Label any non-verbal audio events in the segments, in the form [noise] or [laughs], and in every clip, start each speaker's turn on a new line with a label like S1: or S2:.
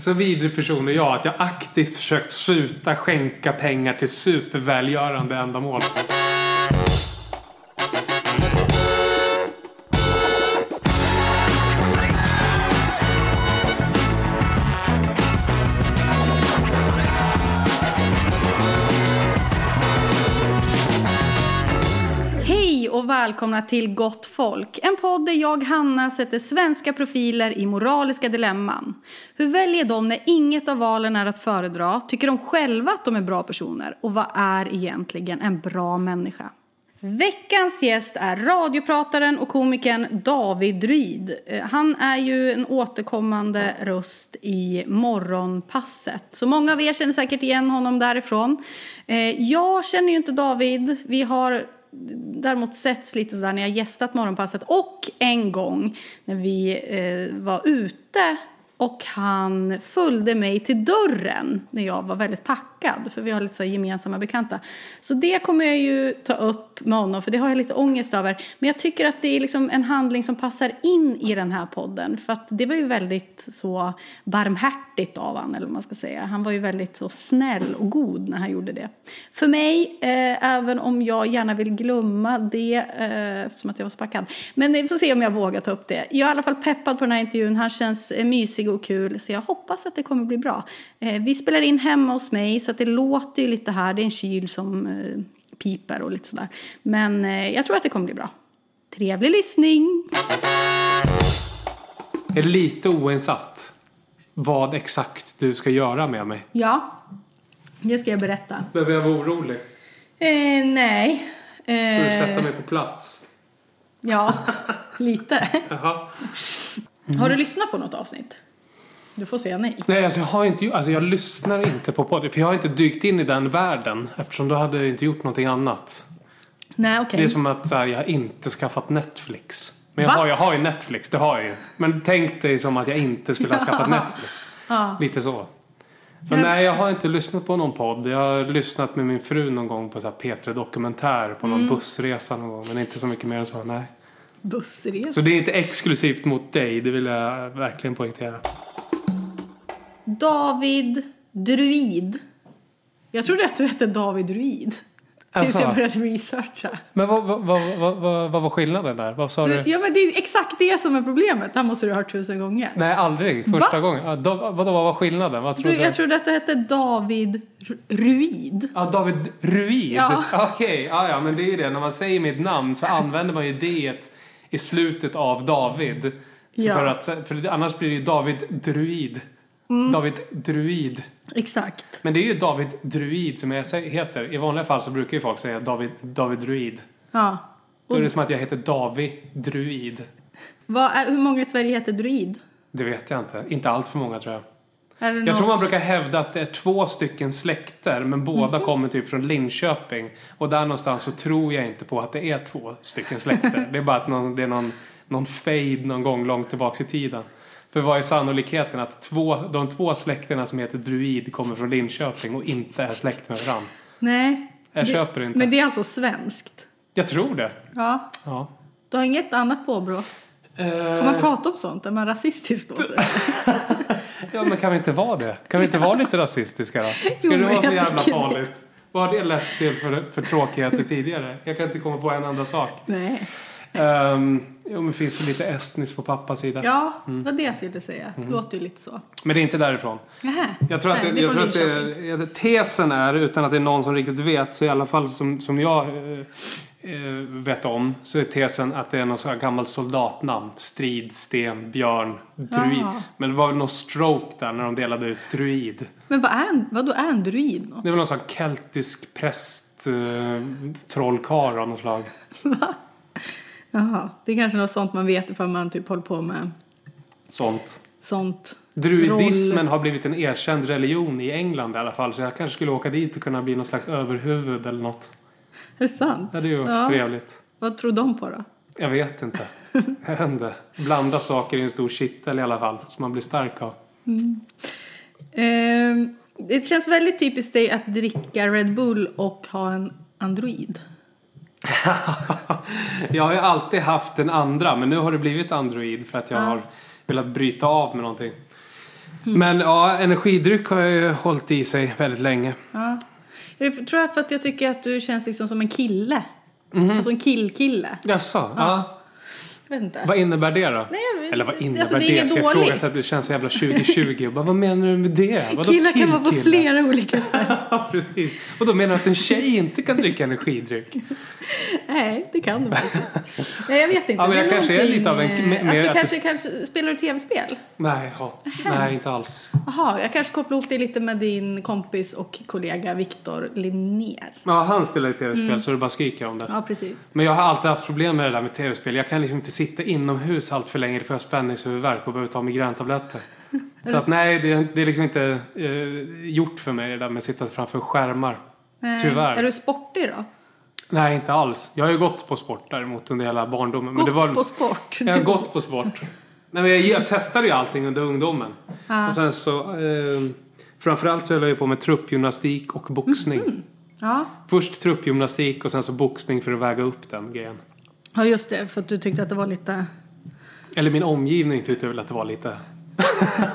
S1: Så vidrig person är jag att jag aktivt försökt sluta skänka pengar till supervälgörande ändamål.
S2: Hej och välkomna till Gott folk, en podd där jag, Hanna, sätter svenska profiler i moraliska dilemman. Hur väljer de när inget av valen är att föredra? Tycker de själva att de är bra personer? Och vad är egentligen en bra människa? Veckans gäst är radioprataren och komikern David Druid. Eh, Han är ju en återkommande röst i Morgonpasset. Så många av er känner säkert igen honom därifrån. Eh, Jag känner ju inte David. Vi har däremot setts lite sådär när jag gästat Morgonpasset och en gång när vi eh, var ute och han följde mig till dörren när jag var väldigt packad för vi har lite så här gemensamma bekanta. Så det kommer jag ju ta upp med honom för det har jag lite ångest över. Men jag tycker att det är liksom en handling som passar in i den här podden för att det var ju väldigt så barmhärtigt av han eller vad man ska säga. Han var ju väldigt så snäll och god när han gjorde det. För mig, eh, även om jag gärna vill glömma det eh, eftersom att jag var så packad. Men vi får se om jag vågar ta upp det. Jag är i alla fall peppad på den här intervjun. Han känns eh, mysig och kul så jag hoppas att det kommer bli bra. Eh, vi spelar in hemma hos mig så att det låter ju lite här. Det är en kyl som eh, piper och lite sådär. Men eh, jag tror att det kommer bli bra. Trevlig lyssning!
S1: Jag är lite oinsatt vad exakt du ska göra med mig.
S2: Ja, det ska jag berätta.
S1: Behöver jag vara orolig?
S2: Eh, nej.
S1: Ska du
S2: Eh,
S1: sätta mig på plats?
S2: Ja, lite.
S1: Jaha.
S2: Har du lyssnat på något avsnitt? Du får säga nej.
S1: Nej, alltså jag har inte gjort- Alltså jag lyssnar inte på podden. För jag har inte dykt in i den världen. Eftersom då hade jag inte gjort någonting annat.
S2: Nej,
S1: Det
S2: okej.
S1: är som att så här, jag har inte skaffat Netflix. Men jag
S2: Va?
S1: har, jag har ju Netflix, det har jag ju. Men tänk dig som att jag inte skulle ha skaffat Netflix. Lite så. Så
S2: Jag-
S1: nej, jag har inte lyssnat på någon podd. Jag har lyssnat med min fru någon gång på så här P3 Dokumentär på
S2: Mm.
S1: någon bussresa någon gång. Men inte så mycket mer än så, nej.
S2: Bussresa.
S1: Så det är inte exklusivt mot dig, det vill jag verkligen poängtera.
S2: David Druid. Jag trodde att du hette David Druid. Tills
S1: Alltså.
S2: jag började researcha.
S1: Men vad, vad, vad, vad, vad, vad var skillnaden där? Vad sa
S2: Du,
S1: du?
S2: ja, men det är ju exakt det som är problemet. Det här måste du ha hört tusen gånger.
S1: Nej, aldrig. Första gången. Ja, då, vadå, vad var skillnaden? Vad
S2: Du,
S1: trodde
S2: jag trodde att du hette David R- Ruid.
S1: Ja, David Ruid.
S2: Ja.
S1: Okej, ja, ja, men det är ju det. När man säger mitt namn så använder man ju det i slutet av David. Så
S2: Ja.
S1: För, att, för annars blir det ju David Druid.
S2: Mm.
S1: David Druid.
S2: Exakt.
S1: Men det är ju David Druid som jag sä- heter. I vanliga fall så brukar ju folk säga David, David Druid.
S2: Ja.
S1: Då är det som att jag heter David Druid.
S2: Vad är, hur många i Sverige heter Druid?
S1: Det vet jag inte. Inte allt för många tror jag.
S2: Är det
S1: Jag tror
S2: något-
S1: man brukar hävda att det är två stycken släkter men båda
S2: Mhm.
S1: kommer typ från Linköping. Och där någonstans så tror jag inte på att det är två stycken släkter. det är bara att någon, det är någon, någon fade någon gång långt tillbaks i tiden. För vad är sannolikheten att två, de två släkterna som heter druid kommer från Linköping och inte är släkt med varandra?
S2: Nej.
S1: Jag köper inte.
S2: Men det är alltså svenskt?
S1: Jag tror det.
S2: Ja.
S1: Ja.
S2: Du har inget annat påbrå? Får man prata om sånt? Är man rasistisk då?
S1: [laughs] Ja, men kan vi inte vara det? Kan vi inte vara lite rasistiska då? Ska
S2: [laughs] Jo,
S1: det
S2: men
S1: vara så
S2: jag
S1: jävla
S2: tycker det.
S1: farligt? Vad har det lett till för, för tråkigheter tidigare? Jag kan inte komma på en enda sak.
S2: Nej.
S1: Um, jo, men finns det lite estnisk på pappas sida.
S2: Ja, det var det jag skulle säga. Det låter ju lite så.
S1: Men det är inte därifrån.
S2: Nähä.
S1: Mm. Jag tror att,
S2: Nej,
S1: det, jag
S2: är
S1: tror
S2: från
S1: att det,
S2: Linköping.
S1: jag- tesen är, utan att det är någon som riktigt vet, så i alla fall som, som jag eh, eh, vet om, så är tesen att det är någon sån här gammal soldatnamn. Strid, sten, björn, druid.
S2: Jaha.
S1: Men det var väl någon stroke där när de delade ut druid.
S2: Men vad är en, vadå, är en druid något?
S1: Det är väl någon sån här keltisk präst, eh, trollkarl av något slag.
S2: Jaha, det är kanske något sånt man vet ifall man typ håller på med
S1: Sånt.
S2: sånt.
S1: Druidismen har blivit en erkänd religion i England i alla fall. Så jag kanske skulle åka dit och kunna bli någon slags överhuvud eller något.
S2: Är det sant?
S1: Det hade ju varit
S2: Ja.
S1: trevligt.
S2: Vad tror de på då?
S1: Jag vet inte. Jag vet inte. Blanda saker i en stor kittel i alla fall. Som man blir stark av.
S2: Ehm, det känns väldigt typiskt dig att dricka Red Bull och ha en android.
S1: jag har ju alltid haft den andra. Men nu har det blivit android för att jag
S2: Ja.
S1: har velat bryta av med någonting. Men ja, energidryck har jag ju hållit i sig väldigt länge.
S2: Ja. Jag tror jag för att jag tycker att du känns liksom som en kille.
S1: Mhm.
S2: Alltså en killkille.
S1: Jaså? Ja.
S2: Jag vet inte.
S1: Vad innebär det då?
S2: Nej, jag vet-
S1: Eller vad innebär
S2: alltså, det är
S1: det?
S2: inget
S1: Ska jag fråga
S2: dåligt.
S1: så att det känns så jävla 2020? Och bara, vad menar du med det? Vadå
S2: Killar kan vara på
S1: killkillar?
S2: flera olika sätt.
S1: [laughs] Ja, precis. Och då menar du att en tjej inte kan dricka energidryck?
S2: Nej, det kan du inte. Nej, jag vet inte.
S1: Ja, men
S2: Det
S1: jag kanske är
S2: någonting,
S1: lite av en-
S2: eh,
S1: mer- mer
S2: Att du
S1: att
S2: kanske, kanske spelar du tv-spel?
S1: Nej, hat. Nej, inte alls.
S2: Jaha, jag kanske kopplar ihop dig lite med din kompis och kollega Viktor Linnér.
S1: Ja, han spelar ju tv-spel
S2: Mm.
S1: så du bara skriker om det.
S2: Ja, precis.
S1: Men jag har alltid haft problem med det där med tv-spel. Jag kan liksom inte sitta inomhus allt för länge. Då får jag spänningshuvudvärk och behöver ta
S2: [laughs]
S1: migräntabletter. Så att nej, det, det är liksom inte eh, gjort för mig det där med att sitta framför skärmar.
S2: Eh,
S1: Tyvärr.
S2: Är du sportig då?
S1: Nej, inte alls. Jag har ju gått på sport däremot under hela barndomen.
S2: Gått
S1: det var,
S2: på sport?
S1: Jag har gått på sport. Nej, men jag, jag testade ju allting under ungdomen.
S2: Ah.
S1: Och sen så... Eh, framförallt så höll jag ju på med truppgymnastik och boxning.
S2: [laughs] Mhm. Ja.
S1: Först truppgymnastik och sen så boxning för att väga upp den grejen.
S2: ja, just det. För att du tyckte att det var lite...
S1: Eller min omgivning tyckte väl att det var lite...
S2: [laughs]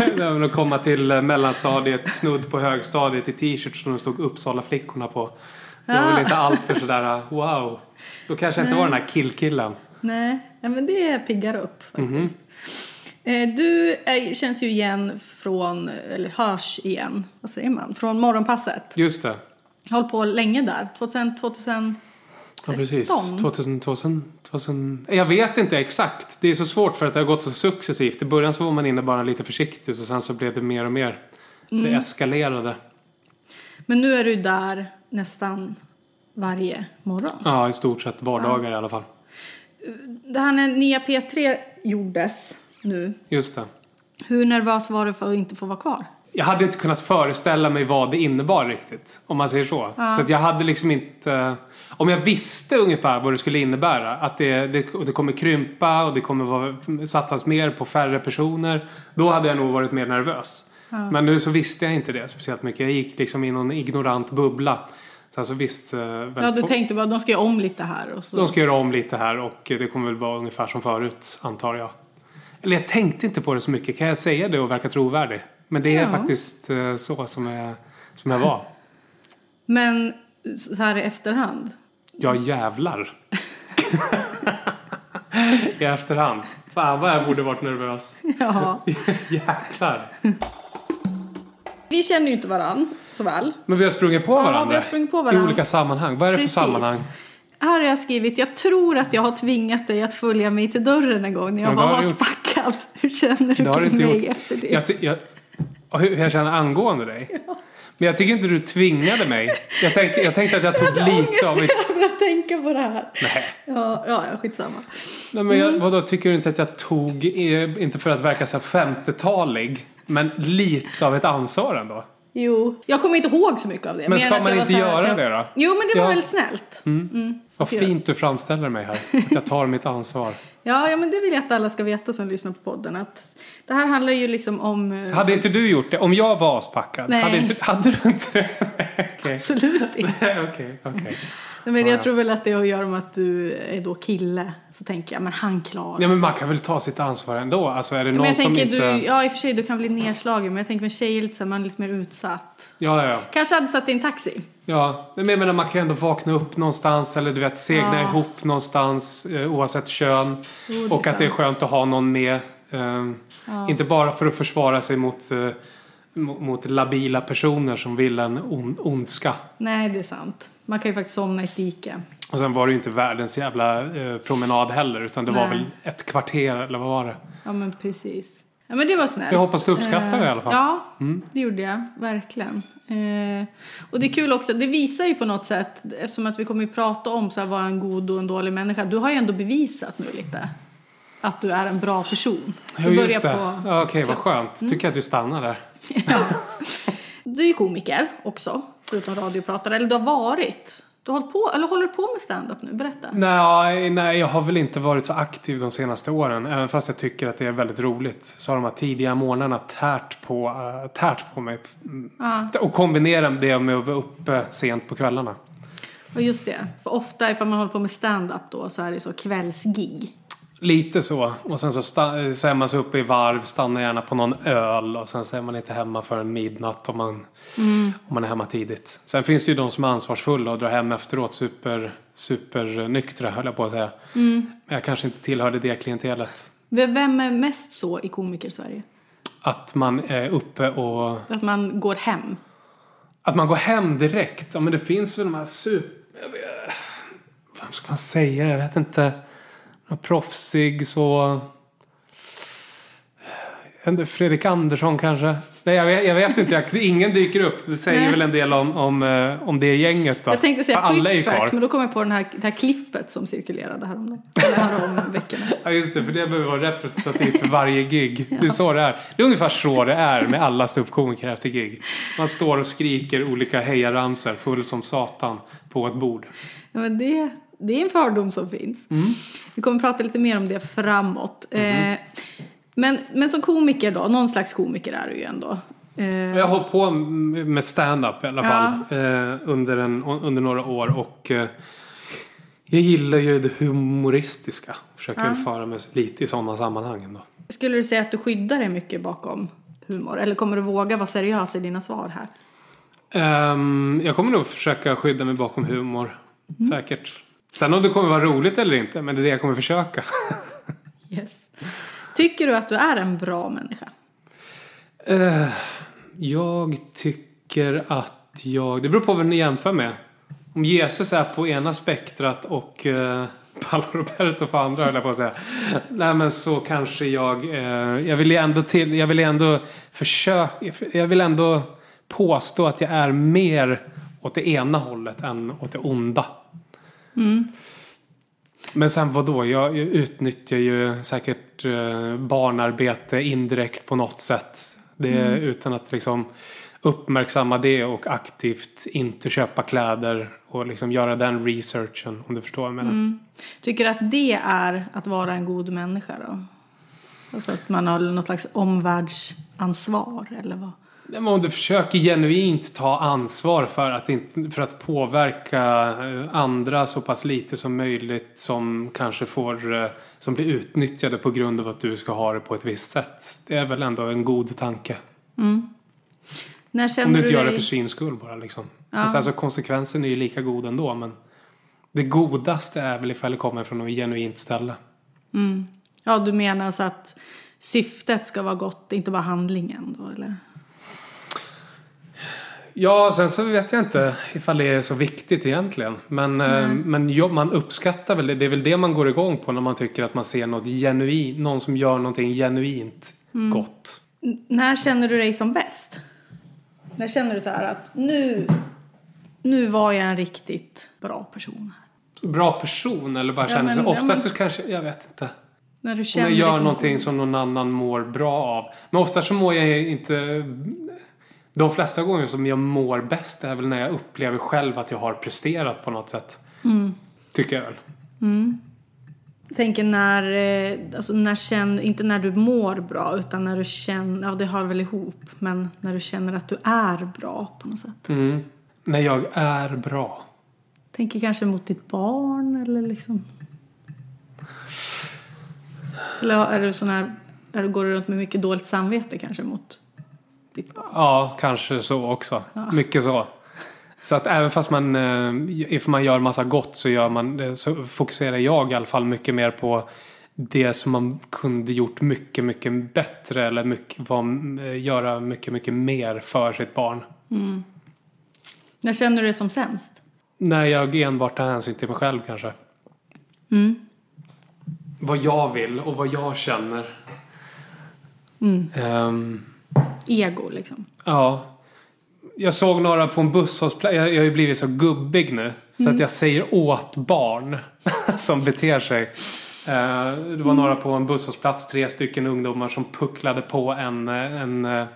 S1: Nej, men att komma till eh, mellanstadiet, snudd på högstadiet i t-shirts som det stod Uppsala flickorna på. Det var
S2: Ah.
S1: väl inte allt för sådär eh, wow. Då kanske jag inte var den här killkillen.
S2: Nej, nej men det piggar upp faktiskt.
S1: Mhm.
S2: Eh, Du är, känns ju igen från, eller hörs igen, vad säger man, från morgonpasset.
S1: Just det.
S2: Håll på länge där, 2000, 2000
S1: Ja, precis.
S2: 13.
S1: 2000, 2000, 2000. Jag vet inte exakt. Det är så svårt för att det har gått så successivt. I början så var man inne bara lite försiktigt och sen så blev det mer och mer. Det eskalerade.
S2: Men nu är du där nästan varje morgon.
S1: Ja, i stort sett vardagar i alla fall.
S2: Det här när nya P3 gjordes nu,
S1: Just det.
S2: hur nervös var du för att inte få vara kvar?
S1: Jag hade inte kunnat föreställa mig vad det innebar riktigt. Om man säger så. Så att jag hade liksom inte... Om jag visste ungefär vad det skulle innebära. Att det, det, och det kommer krympa och det kommer vara, satsas mer på färre personer. Då hade jag nog varit mer nervös. Men nu så visste jag inte det speciellt mycket. Jag gick liksom i någon ignorant bubbla. Sen så alltså eh, visste väl
S2: Ja, du
S1: folk-
S2: tänkte bara de ska göra om lite här och så.
S1: de ska göra om lite här och det kommer väl vara ungefär som förut, antar jag. Eller jag tänkte inte på det så mycket. Kan jag säga det och verka trovärdig? Men det är
S2: Ja.
S1: faktiskt eh, så som jag, som jag var.
S2: Men så här
S1: [laughs]
S2: i efterhand,
S1: Jag
S2: [laughs]
S1: jävlar. I efterhand. Fan vad jag borde varit
S2: [laughs]
S1: nervös. [laughs]
S2: ja.
S1: Jäklar.
S2: Vi känner ju inte varann så väl.
S1: Men vi har sprungit på
S2: vi har
S1: varandra.
S2: sprungit på varandra.
S1: I olika sammanhang. Vad är det för sammanhang?
S2: Här har jag skrivit, jag tror att jag har tvingat dig att följa mig till dörren en gång när jag
S1: Ja, det
S2: var
S1: har du
S2: halspackad. [laughs] Hur känner du
S1: Det har du
S2: kring
S1: inte
S2: mig
S1: gjort.
S2: efter det?
S1: Jag, ty- jag, och hur hur jag känner angående dig. Men jag tycker inte du tvingade mig. Jag tänkte, jag tänkte att jag tog lite av mitt...
S2: ångest över att tänka på det här.
S1: Nej.
S2: Ja, ja, ja, skitsamma.
S1: Nej men
S2: Mm.
S1: jag, vadå, tycker du inte att jag tog, eh, inte för att verka så här 50-talig, men lite av ett ansvar ändå?
S2: Jo, jag kommer inte ihåg så mycket av det.
S1: Men
S2: mer
S1: ska
S2: än att
S1: man
S2: jag var
S1: inte
S2: så här
S1: göra
S2: att jag...
S1: det då?
S2: Jo, men det var
S1: Ja. Mm.
S2: väldigt snällt.
S1: Vad fint du framställer mig här, att jag tar mitt
S2: [laughs]
S1: ansvar.
S2: Ja, ja, men det vill jag att alla ska veta som lyssnar på podden. Att det här handlar ju liksom om... eh,
S1: Hade inte du gjort det? Om jag var aspackad,
S2: Nej.
S1: hade, inte, hade du inte [laughs] det?
S2: [laughs]
S1: Okej, [laughs]
S2: Absolut inte.
S1: okej, okej.
S2: Nej, Men jag tror väl att det har att göra med att du är då kille. Så tänker jag, men han klarar
S1: Ja men man kan väl ta sitt ansvar ändå? Alltså är det någon
S2: Men jag
S1: som
S2: tänker
S1: inte...
S2: du, ja i och för sig du kan bli nedslagen men jag tänker med tjejer är lite så här, man är lite mer utsatt.
S1: Ja, ja, ja.
S2: Kanske hade satt i en taxi.
S1: Ja, men jag menar man kan ju ändå vakna upp någonstans eller du vet segna
S2: Ja.
S1: ihop någonstans eh, oavsett kön.
S2: Jo, det
S1: och
S2: är
S1: att det är
S2: sant.
S1: skönt att ha någon med. eh, Inte bara för att försvara sig mot, eh, mo- mot labila personer som vill en on- ondska.
S2: Nej det är sant. Man kan ju faktiskt somna i ett dike.
S1: Och sen var det ju inte världens jävla eh, promenad heller utan det var
S2: Nej.
S1: väl ett kvarter eller vad var det?
S2: Ja men precis. Ja men det var snällt.
S1: Jag hoppas du uppskattar
S2: Eh,
S1: det i alla fall. Mm.
S2: Ja, det gjorde jag. Verkligen. Eh, och det är kul också, det visar ju på något sätt, eftersom att vi kommer ju prata om så här, vad är en god och en dålig människa. Du har ju ändå bevisat nu lite att du är en bra person. Du
S1: Ja,
S2: börjar
S1: just det.
S2: på Mm.
S1: Ja, Okej, vad
S2: plus.
S1: skönt. Tycker jag att vi stannar där.
S2: Du är ju komiker också, förutom radiopratare. Eller du har varit. Du har hållit på, eller håller du på med stand-up nu? Berätta.
S1: Nej, nej, jag har väl inte varit så aktiv de senaste åren. Även fast jag tycker att det är väldigt roligt. Så har de här tidiga månaderna tärt på, eh, tärt på mig. Mm. Och kombinera det med att vara uppe sent på kvällarna.
S2: Och just det, för ofta ifall man håller på med stand-up då så är det så kvällsgig.
S1: Lite så. Och sen så, sta- så är man så uppe i varv, stannar gärna på någon öl och sen så är man inte hemma förrän midnatt om man, om man är hemma tidigt. Sen finns det ju de som är ansvarsfulla och drar hem efteråt super, supernyktra höll jag på att säga. Men jag kanske inte tillhörde det klientelet.
S2: V- Vem är mest så i komiker-Sverige?
S1: Att man är uppe och...
S2: Att man går hem?
S1: Att man går hem direkt. Ja men det finns väl de här super... jag vet- Vad ska man säga? Jag vet inte. Någon Proffsig så... Jag vet inte, Fredrik Andersson kanske? Nej jag vet, jag vet inte. Jag, ingen dyker upp. Det säger
S2: Nej.
S1: väl en del om, om, eh, om det gänget då.
S2: Jag tänkte säga
S1: För Alla är ju kvar.
S2: Schyffert, men då kom jag på den här, det här klippet som cirkulerade häromdagen. Eller härom veckorna.
S1: Ja just det, för det behöver vara representativt för varje gig. Det är så det är. Det är ungefär så det är med alla ståuppkomiker efter gig. Man står och skriker olika hejaramsor full som satan på ett bord.
S2: Ja, men det, det är en fördom som finns.
S1: Mm.
S2: Vi kommer prata lite mer om det framåt.
S1: Mhm.
S2: Eh, men, men som komiker då, någon slags komiker är du ju ändå. Eh,
S1: Jag har hållit på med stand-up i alla fall eh, under, en, under några år och eh, jag gillar ju det humoristiska. Försöker väl föra mig lite i sådana sammanhang ändå.
S2: skulle du säga att du skyddar dig mycket bakom humor? Eller kommer du våga vara seriös i dina svar här?
S1: Ehm, jag kommer nog försöka skydda mig bakom humor. Säkert. Sen om det kommer vara roligt eller inte, men det är det jag kommer försöka.
S2: Yes. Tycker du att du är en bra människa?
S1: Eh, jag tycker att jag... Det beror på vem ni jämför med. Om Jesus är på ena spektrat och eh, [laughs] Paolo Roberto på andra höll jag på att säga. Nej men så kanske jag... Eh, jag vill ju ändå till... Jag vill ju ändå försöka... Jag vill ändå påstå att jag är mer åt det ena hållet än åt det onda. Men sen vad då? Jag jag utnyttjar ju säkert eh, barnarbete indirekt på något sätt. Det är utan att liksom uppmärksamma det och aktivt inte köpa kläder och liksom göra den researchen om du förstår vad jag menar.
S2: Tycker du att det är att vara en god människa då? Alltså att man har något slags omvärldsansvar eller vad?
S1: Nej, men om du försöker genuint ta ansvar för att, inte, för att påverka eh, andra så pass lite som möjligt som kanske får, eh, som blir utnyttjade på grund av att du ska ha det på ett visst sätt. Det är väl ändå en god tanke.
S2: När
S1: Om
S2: känner
S1: du inte gör det
S2: dig-
S1: för syns skull bara liksom. Men sen så konsekvensen är ju lika god ändå men det godaste är väl ifall det kommer från något genuint ställe.
S2: Ja, du menar så att syftet ska vara gott, inte bara handlingen då, eller?
S1: Ja, sen så vet jag inte ifall det är så viktigt egentligen. Men, eh, men ja, man uppskattar väl det. Det är väl det man går igång på när man tycker att man ser något genuint. Någon som gör någonting genuint
S2: Mm.
S1: gott.
S2: N- när känner du dig som bäst? När känner du så här att nu, nu var jag en riktigt bra person? här?
S1: Bra person eller bara
S2: Ja,
S1: känner
S2: men-
S1: sig.
S2: ja,
S1: Oftast
S2: men-
S1: så kanske, jag vet inte.
S2: När du
S1: Om
S2: känner
S1: jag
S2: dig
S1: gör
S2: som-
S1: någonting som någon annan mår bra av. Men ofta så mår jag inte... De flesta gånger som jag mår bäst är väl när jag upplever själv att jag har presterat på något sätt. Tycker jag väl.
S2: tänker när, eh, alltså när känn, inte när du mår bra utan när du känner, ja det hör väl ihop, men när du känner att du är bra på något sätt.
S1: Mm. När jag är bra.
S2: Tänker kanske mot ditt barn eller liksom. Eller är du sån här, är du, går du runt med mycket dåligt samvete kanske mot ditt barn?
S1: Ja, kanske så också. Mycket så. Så att även fast man, eh, if man gör massa gott så, gör man, det- så fokuserar jag i alla fall mycket mer på det som man kunde gjort mycket, mycket bättre eller mycket, vad, eh, göra mycket, mycket mer för sitt barn.
S2: När känner du dig som sämst?
S1: När jag enbart tar hänsyn till mig själv kanske. Vad jag vill och vad jag känner. Ehm,
S2: Ego liksom.
S1: Ja. Jag såg några på en busshållplats. Jag, jag har ju blivit så gubbig nu. Så
S2: Mm.
S1: att jag säger åt barn [laughs] som beter sig. Eh, det var
S2: Mm.
S1: några på en busshållplats. Tre stycken ungdomar som pucklade på en, eh, en, eh,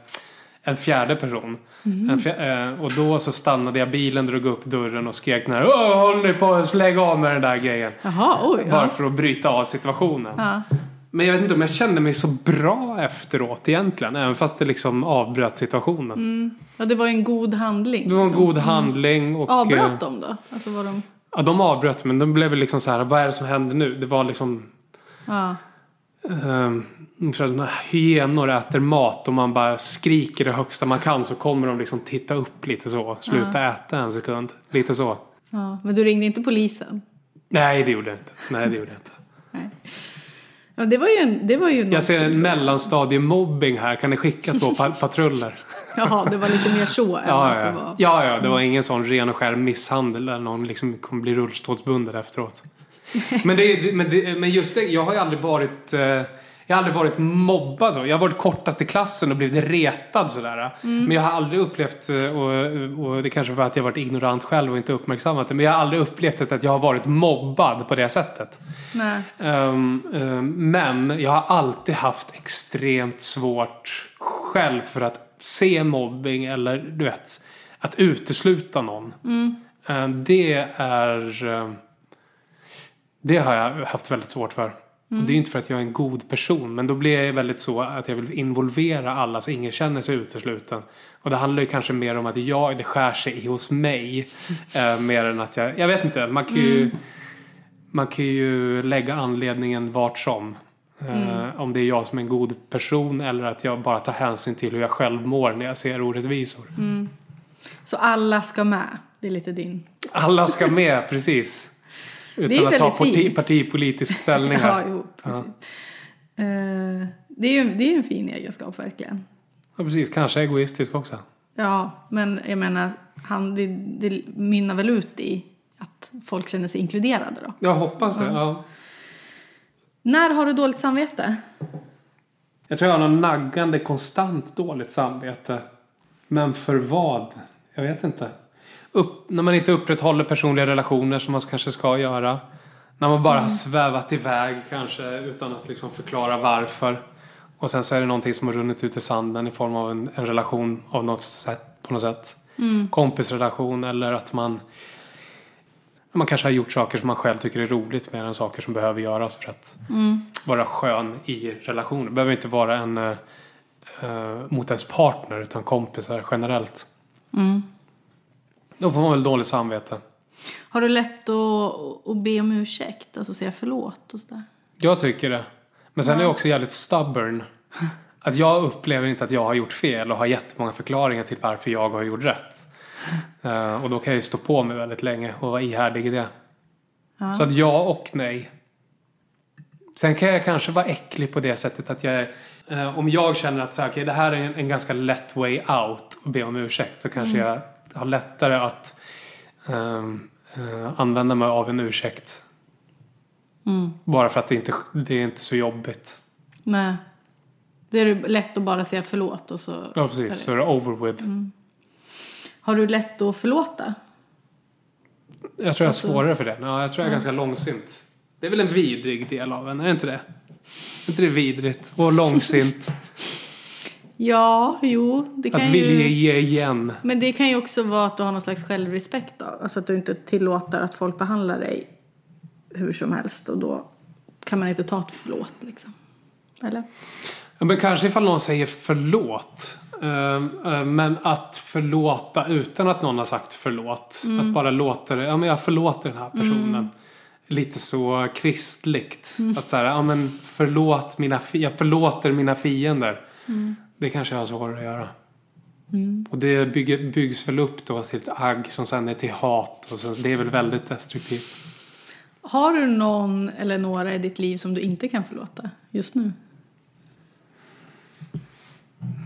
S1: en fjärde person.
S2: Mm.
S1: En fjär, eh, och då så stannade jag bilen, drog upp dörren och skrek den här. Åh, håll nu på att lägg av med den där grejen.
S2: Jaha, oj.
S1: Bara
S2: Ja.
S1: för att bryta av situationen.
S2: Ja.
S1: Men jag vet inte om jag kände mig så bra efteråt egentligen. Även fast det liksom avbröt situationen.
S2: ja, det var ju en god handling.
S1: Det var en
S2: liksom.
S1: god handling och... eh,
S2: Avbröt de då? Alltså var de...
S1: Ja, de avbröt men de blev väl liksom så här, vad är det som händer nu? Det var liksom...
S2: Ja.
S1: Ehm, för att när hyenor äter mat och man bara skriker det högsta man kan så kommer de liksom titta upp lite så. Sluta äta en sekund. Lite så.
S2: ja. Men du ringde inte polisen?
S1: Nej, det gjorde jag inte. Nej, det gjorde jag inte.
S2: Ja, det var ju en... Det var ju något-
S1: Jag ser en mellanstadiemobbing här. Kan ni skicka två pa- patruller?
S2: [laughs] Jaha, det var lite mer så än
S1: [laughs] Ja,
S2: att det
S1: ja.
S2: var...
S1: ja, ja. Det var ingen sån ren och skär misshandel där någon liksom kommer bli rullstolsbunden
S2: [laughs]
S1: efteråt. Men, det, men, det, men just det, jag har ju aldrig varit... eh, Jag har aldrig varit mobbad så. Jag har varit kortast i klassen och blivit retad sådär.
S2: Mm.
S1: Men jag har aldrig upplevt, eh, och, och det kanske var att jag varit ignorant själv och inte uppmärksammat det. Men jag har aldrig upplevt att jag har varit mobbad på det sättet.
S2: Nej.
S1: Ehm, ehm, men jag har alltid haft extremt svårt själv för att se mobbing eller du vet, att utesluta någon. Ehm, det är... ehm, det har jag haft väldigt svårt för. Och det är ju inte för att jag är en god person, men då blir jag väldigt så att jag vill involvera alla så ingen känner sig utesluten. Och det handlar ju kanske mer om att jag, det skär sig i hos mig. eh, mer än att jag, jag vet inte, man kan ju... Man kan ju lägga anledningen vart som. Eh,
S2: Mm.
S1: om det är jag som är en god person eller att jag bara tar hänsyn till hur jag själv mår när jag ser orättvisor.
S2: Mm. Så alla ska med. Det är lite din...
S1: Alla ska med,
S2: [laughs]
S1: precis.
S2: är
S1: Utan att ta
S2: väldigt
S1: parti,
S2: fint.
S1: partipolitisk ställning
S2: [laughs] Ja,
S1: här.
S2: jo, precis. Eh, det, är ju, det är ju en fin egenskap verkligen.
S1: Ja, precis. Kanske egoistisk också.
S2: Ja, men jag menar, han, det, det mynnar väl ut i att folk känner sig inkluderade då.
S1: Jag hoppas det. Ja.
S2: När har du dåligt samvete?
S1: Jag tror jag har någon naggande konstant dåligt samvete. Men för vad? Jag vet inte. Upp, när man inte upprätthåller personliga relationer som man kanske ska göra. När man bara har svävat iväg kanske utan att liksom förklara varför. Och sen så är det någonting som har runnit ut i sanden i form av en, en relation av något sätt, på något sätt. Kompisrelation eller att man man kanske har gjort saker som man själv tycker är roligt mer än saker som behöver göras för att vara skön i relationer. Det behöver inte vara en eh, eh, mot ens partner utan kompisar generellt. Då får man väl dåligt samvete.
S2: Har du lätt att, att be om ursäkt, alltså säga förlåt och sådär?
S1: Jag tycker det. Men sen är jag också jävligt stubborn. Att jag upplever inte att jag har gjort fel och har jättemånga förklaringar till varför jag har gjort rätt. Eh, och då kan jag ju stå på mig väldigt länge och vara ihärdig i det.
S2: Ja.
S1: Så att ja och nej. Sen kan jag kanske vara äcklig på det sättet att jag är, eh, Om jag känner att så här, okej, det här är en, en ganska lätt way out och be om ursäkt så kanske jag har lättare att ehm, eh, använda mig av en ursäkt.
S2: Mm.
S1: Bara för att det inte det är inte så jobbigt.
S2: Nej. Det är det lätt att bara säga förlåt och så...
S1: Ja precis, så är det over with.
S2: Mm. Har du lätt att förlåta?
S1: Jag tror jag är
S2: Alltså-
S1: svårare för det. Ja, jag tror jag är ganska långsint. Det är väl en vidrig del av en, är det inte det? Är inte det vidrigt? Och
S2: [laughs]
S1: långsint.
S2: Ja, jo, det kan
S1: att
S2: ju...
S1: vilja ge igen.
S2: Men det kan ju också vara att du har någon slags självrespekt då. Alltså att du inte tillåter att folk behandlar dig hur som helst och då kan man inte ta ett förlåt liksom. Eller?
S1: Ja, Men kanske ifall någon säger förlåt. Ehm, eh, Men att förlåta utan att någon har sagt förlåt. Att bara låta det, ja men jag förlåter den här personen. Lite så kristligt. Att så här, ja men förlåt mina, fi- jag förlåter mina fiender. Det kanske jag har svårare att göra. Och det bygger, byggs väl upp då till ett agg som sen är till hat. Och så, det är väl väldigt destruktivt.
S2: Har du någon eller några i ditt liv som du inte kan förlåta just nu?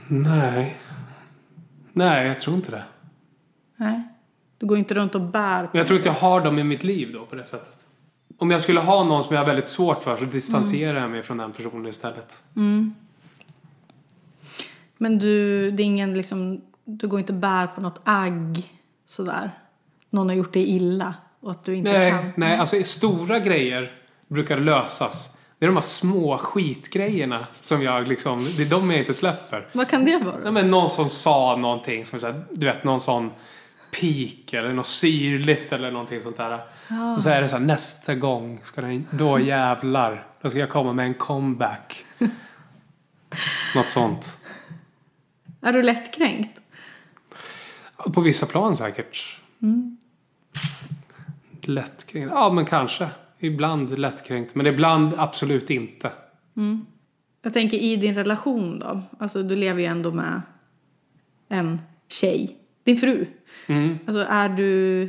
S1: Nej. Nej, jag tror inte det.
S2: Nej. Du går inte runt och bär på...
S1: Men jag tror inte jag har dem i mitt liv då på det sättet. Om jag skulle ha någon som jag har väldigt svårt för så distanserar jag mig från den personen istället.
S2: Mm. Men du, det är ingen liksom... Du går inte och bär på något agg sådär. Någon har gjort dig illa och att du inte
S1: Nej,
S2: kan.
S1: nej, alltså stora grejer brukar lösas. Det är de här små skitgrejerna som jag liksom, det är de jag inte släpper.
S2: Vad kan det vara?
S1: Nej, men någon som sa någonting som är så här, du vet någon sån pik eller något syrligt eller någonting sånt där.
S2: Ah.
S1: Och så är det så här, nästa gång ska den, då jävlar, då ska jag komma med en
S2: [laughs]
S1: comeback. något sånt.
S2: Är du lättkränkt?
S1: På vissa plan säkert. Mm. Lättkränkt. Ja, men kanske. I- Ibland lättkränkt, men ibland absolut inte.
S2: Jag tänker i din relation då. Alltså du lever ju ändå med en tjej. Din fru.
S1: Mm.
S2: Alltså är du...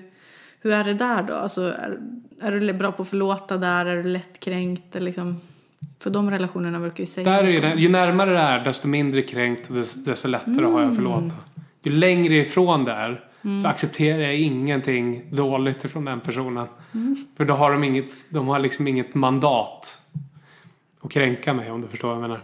S2: Hur är det där då? Alltså är, är du bra på att förlåta där? Är du lättkränkt? Eller liksom, för de relationerna verkar ju säga...
S1: Där är det, ju närmare det är, desto mindre kränkt och des- desto lättare har jag att förlåta. Ju längre ifrån det är, så accepterar jag ingenting dåligt från den personen. För då har de inget, de har liksom inget mandat att kränka mig om du förstår vad jag menar.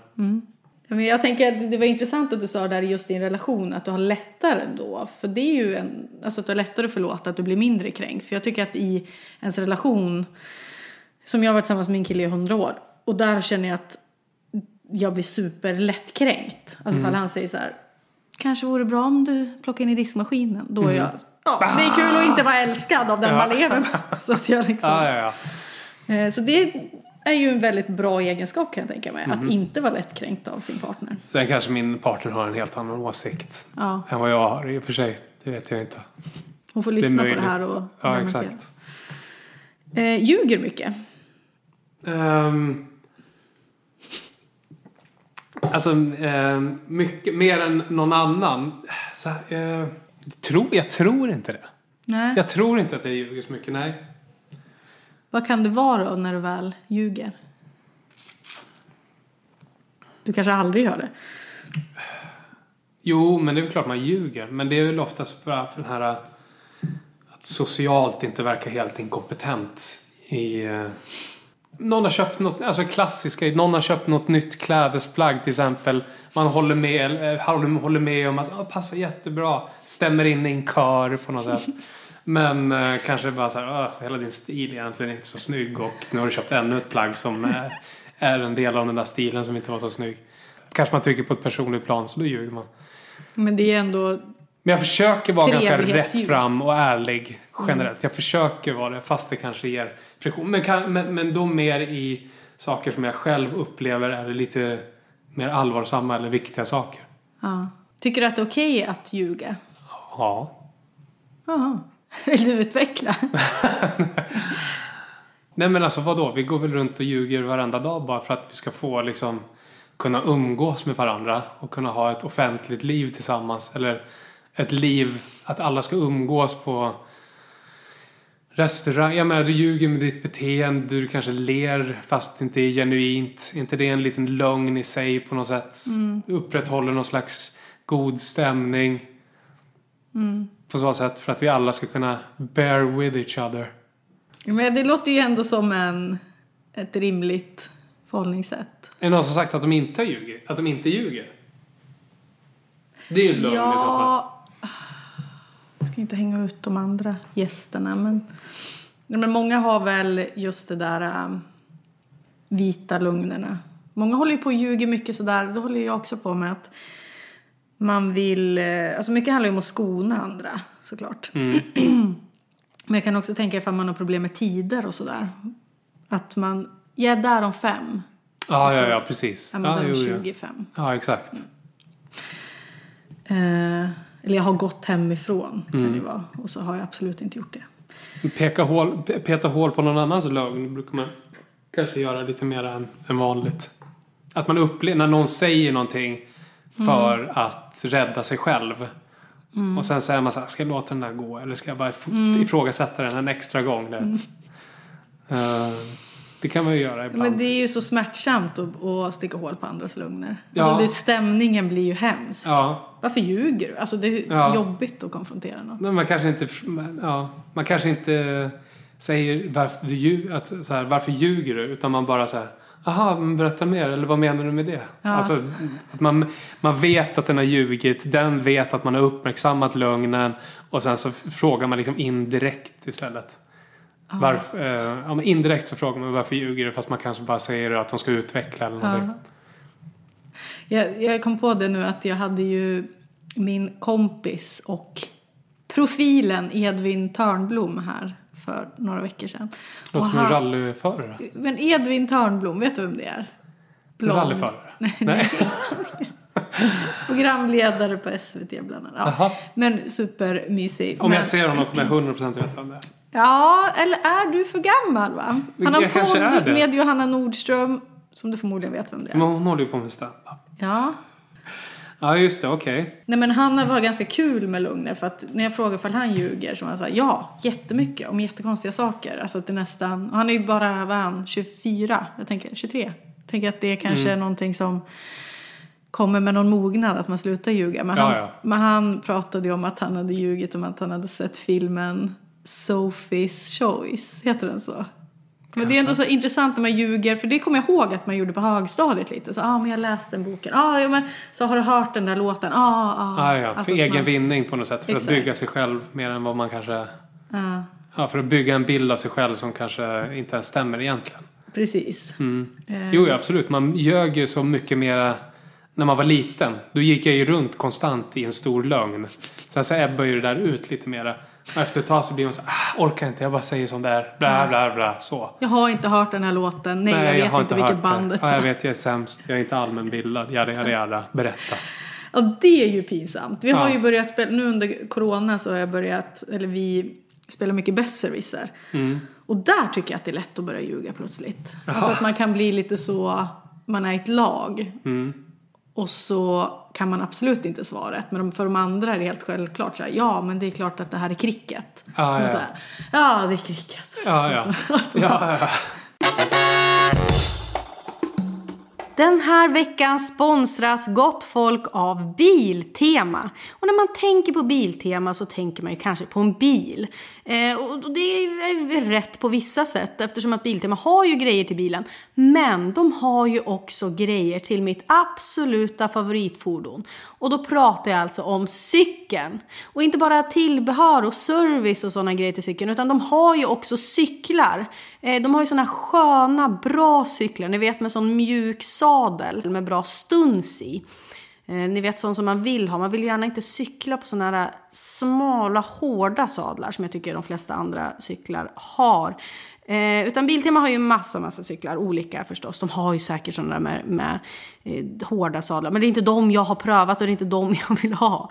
S2: Ja, Men jag tänker att det var intressant att du sa där just i din relation att du har lättare då. För det är ju en, alltså att du har lättare att förlåta att du blir mindre kränkt. För jag tycker att i ens relation, som jag har varit tillsammans med min kille i hundra år. Och där känner jag att jag blir superlättkränkt. Alltså ifall han säger så här, kanske vore bra om du plockar in i diskmaskinen. Då är jag, ja det är kul att inte vara älskad av den man lever med. Så att jag liksom,
S1: Ja, ja, ja.
S2: Eh, Så det är ju en väldigt bra egenskap kan jag tänka mig. Att inte vara lättkränkt av sin partner.
S1: Sen kanske min partner har en helt annan åsikt
S2: Ja.
S1: än vad jag har i och för sig. Det vet jag inte.
S2: Hon får
S1: Det är
S2: lyssna på
S1: möjligt.
S2: det här och
S1: Ja,
S2: dementera.
S1: exakt.
S2: Eh, ljuger mycket.
S1: Ehm, alltså, ehm, mycket mer än någon annan. Så, eh, tror, jag tror inte det.
S2: Nej.
S1: Jag tror inte att jag ljuger så mycket, nej.
S2: Vad kan det vara då när du väl ljuger? Du kanske aldrig gör det?
S1: Jo, men det är väl klart man ljuger. Men det är väl oftast bara för den här eh, att socialt inte verka helt inkompetent i... eh, Någon har köpt något, alltså klassiska, någon har köpt något nytt klädesplagg till exempel. Man håller med, eller, eh, håller, håller med om att ah, passar jättebra. Stämmer in i en kör på något sätt. Men eh, kanske bara så här, "Ah, hela din stil är egentligen inte så snygg och nu har du köpt ännu ett plagg som eh, är en del av den där stilen som inte var så snygg. Kanske man tycker på ett personligt plan så då ljuger man.
S2: Men det är ändå...
S1: Men jag försöker vara ganska rätt
S2: Trevlighetsdjur.
S1: fram och ärlig generellt. Jag försöker vara det fast det kanske ger friktion. Men, kan, men, men då mer i saker som jag själv upplever är det lite mer allvarsamma eller viktiga saker.
S2: Ja. Tycker du att det är okej att ljuga?
S1: Ja.
S2: Jaha. [laughs] Vill du utveckla?
S1: Nej men alltså vadå? Vi går väl runt och ljuger varenda dag bara för att vi ska få liksom kunna umgås med varandra och kunna ha ett offentligt liv tillsammans. Eller ett liv att alla ska umgås på restaurang. Jag menar du ljuger med ditt beteende. Du kanske ler fast det inte är genuint. Är inte det en liten lögn i sig på något sätt? Du upprätthåller någon slags god stämning. På så sätt för att vi alla ska kunna bear with each other.
S2: Men det låter ju ändå som en, ett rimligt förhållningssätt.
S1: Är det någon som sagt att de inte ljuger? Att de inte ljuger? Det är ju en lögn i så fall.
S2: Ja... Jag ska inte hänga ut de andra gästerna, men... Nej, men många har väl just det där eh, vita lugnerna. Många håller ju på och ljuger mycket sådär. Det håller jag också på med. att Man vill... eh, Alltså mycket handlar ju om att skona andra, såklart.
S1: Mm.
S2: [clears throat] Men jag kan också tänka ifall man har problem med tider och sådär. Att man... Jag är där om fem.
S1: Ah, Ja, ja, ja, precis.
S2: Ja, men
S1: Ja,
S2: där om
S1: Ah, jo, jo.
S2: 25.
S1: ja exakt.
S2: Eh, eller jag har gått hemifrån
S1: Mm.
S2: kan det ju vara. Och så har jag absolut inte gjort det.
S1: Peka hål, pe- peta hål på någon annans lögn brukar man kanske göra lite mer än, än vanligt. Att man upplever, när någon säger någonting för
S2: Mm.
S1: att rädda sig själv. Och sen säger man så här, ska jag låta den där gå? Eller ska jag bara if-
S2: Mm.
S1: ifrågasätta den en extra gång? du vet? Eh, det kan man ju göra ibland.
S2: Men det är ju så smärtsamt att, att sticka hål på andras lögner.
S1: Ja.
S2: Alltså det, stämningen blir ju hemsk.
S1: Ja.
S2: Varför ljuger du? Alltså det är
S1: Ja.
S2: jobbigt att konfrontera någon.
S1: Men man kanske inte, ja, man kanske inte säger varför, du ljug, att, alltså så här, varför ljuger du? Utan man bara så här, aha, men berätta mer, eller vad menar du med det?
S2: Ja.
S1: Alltså, att man, man vet att den har ljugit, den vet att man har uppmärksammat lögnen och sen så f- frågar man liksom indirekt istället. Varför, eh, ja, men indirekt så frågar man varför ljuger du? Fast man kanske bara säger att de ska utveckla eller någonting.
S2: Jag, jag kom på det nu att jag hade ju min kompis och profilen Edvin Törnblom här för några veckor sedan.
S1: Låter
S2: Och
S1: som en
S2: han-
S1: rallyförare.
S2: Men Edvin Törnblom, vet du vem det är? Blond.
S1: Rallyförare?
S2: [laughs]
S1: Nej.
S2: Programledare på SVT bland annat.
S1: Jaha.
S2: Ja. Men supermysig.
S1: Om
S2: men,
S1: jag ser honom kommer jag 100% veta om det är.
S2: Ja, eller är du för gammal va? Han har en
S1: Jag kanske är
S2: podd
S1: det.
S2: med Johanna Nordström, som du förmodligen vet vem det är.
S1: Men hon håller ju på med standup.
S2: Ja.
S1: Ja, just det. Okej.
S2: Nej men Hanna var ganska kul med Lugner för att när jag frågade ifall han ljuger så var han såhär ja, jättemycket om jättekonstiga saker. Alltså att det nästan, och han är ju bara, vad är han, 24? Jag tänker 23. Jag tänker att det kanske
S1: Mm.
S2: är någonting som kommer med någon mognad att man slutar ljuga. Men,
S1: Ja,
S2: han,
S1: ja.
S2: men han pratade ju om att han hade ljugit om att han hade sett filmen Sophie's Choice, heter den så? Men det är ändå så intressant när man ljuger, för det kommer jag ihåg att man gjorde på högstadiet lite. Så, ah, men jag läste den boken. Ah, ja, men, så har du hört den där låten? Ah, ah.
S1: Ah, ja, för
S2: Alltså att
S1: egen
S2: man-
S1: vinning på något sätt. För
S2: Exakt.
S1: att bygga sig själv mer än vad man kanske...
S2: Ja,
S1: Ja, för att bygga en bild av sig själv som kanske inte ens stämmer egentligen.
S2: precis. Eh,
S1: Mm. Jo, ja, absolut. Man ljög ju så mycket mera när man var liten. Då gick jag ju runt konstant i en stor lögn. Sen så ebbar ju det där ut lite mera. Och efter ett tag så blir man så här, ah, orkar inte, jag bara säger sånt där, bla bla bla, så.
S2: Jag har inte hört den här låten. Nej, jag vet inte vilket bandet
S1: det. Ja, jag vet, jag är sämst. Jag är inte allmänbildad. Jada, jada, jada. Berätta.
S2: [laughs] Ja, det är ju pinsamt. Vi har
S1: Ja.
S2: ju börjat spela, nu under corona så har jag börjat, eller vi spelar mycket besserwisser.
S1: Mm.
S2: Och där tycker jag att det är lätt att börja ljuga plötsligt. Alltså att man kan bli lite så, man är i ett lag.
S1: Mm.
S2: Och så kan man absolut inte svaret. Men de- för de andra är det helt självklart så här, ja men det är klart att det här är cricket.
S1: Ja,
S2: Så man
S1: ja.
S2: Så här, ja det är cricket.
S1: Ja, ja.
S2: Alltså, [laughs]
S1: ja, ja.
S2: Den här veckan sponsras Gott Folk av Biltema. Och när man tänker på Biltema så tänker man ju kanske på en bil. Eh, och det är väl rätt på vissa sätt eftersom att Biltema har ju grejer till bilen. Men de har ju också grejer till mitt absoluta favoritfordon. Och då pratar jag alltså om cykeln. Och inte bara tillbehör och service och sådana grejer till cykeln utan de har ju också cyklar. Eh, De har ju sådana sköna, bra cyklar, ni vet med sån mjuk sadel med bra stuns i. Eh, Ni vet sånt som man vill ha. Man vill gärna inte cykla på såna här smala, hårda sadlar som jag tycker de flesta andra cyklar har. Eh, utan Biltema har ju massa, massa cyklar, olika förstås. De har ju säkert sådana där med, med eh, hårda sadlar. Men det är inte de jag har prövat och det är inte de [laughs] jag vill ha.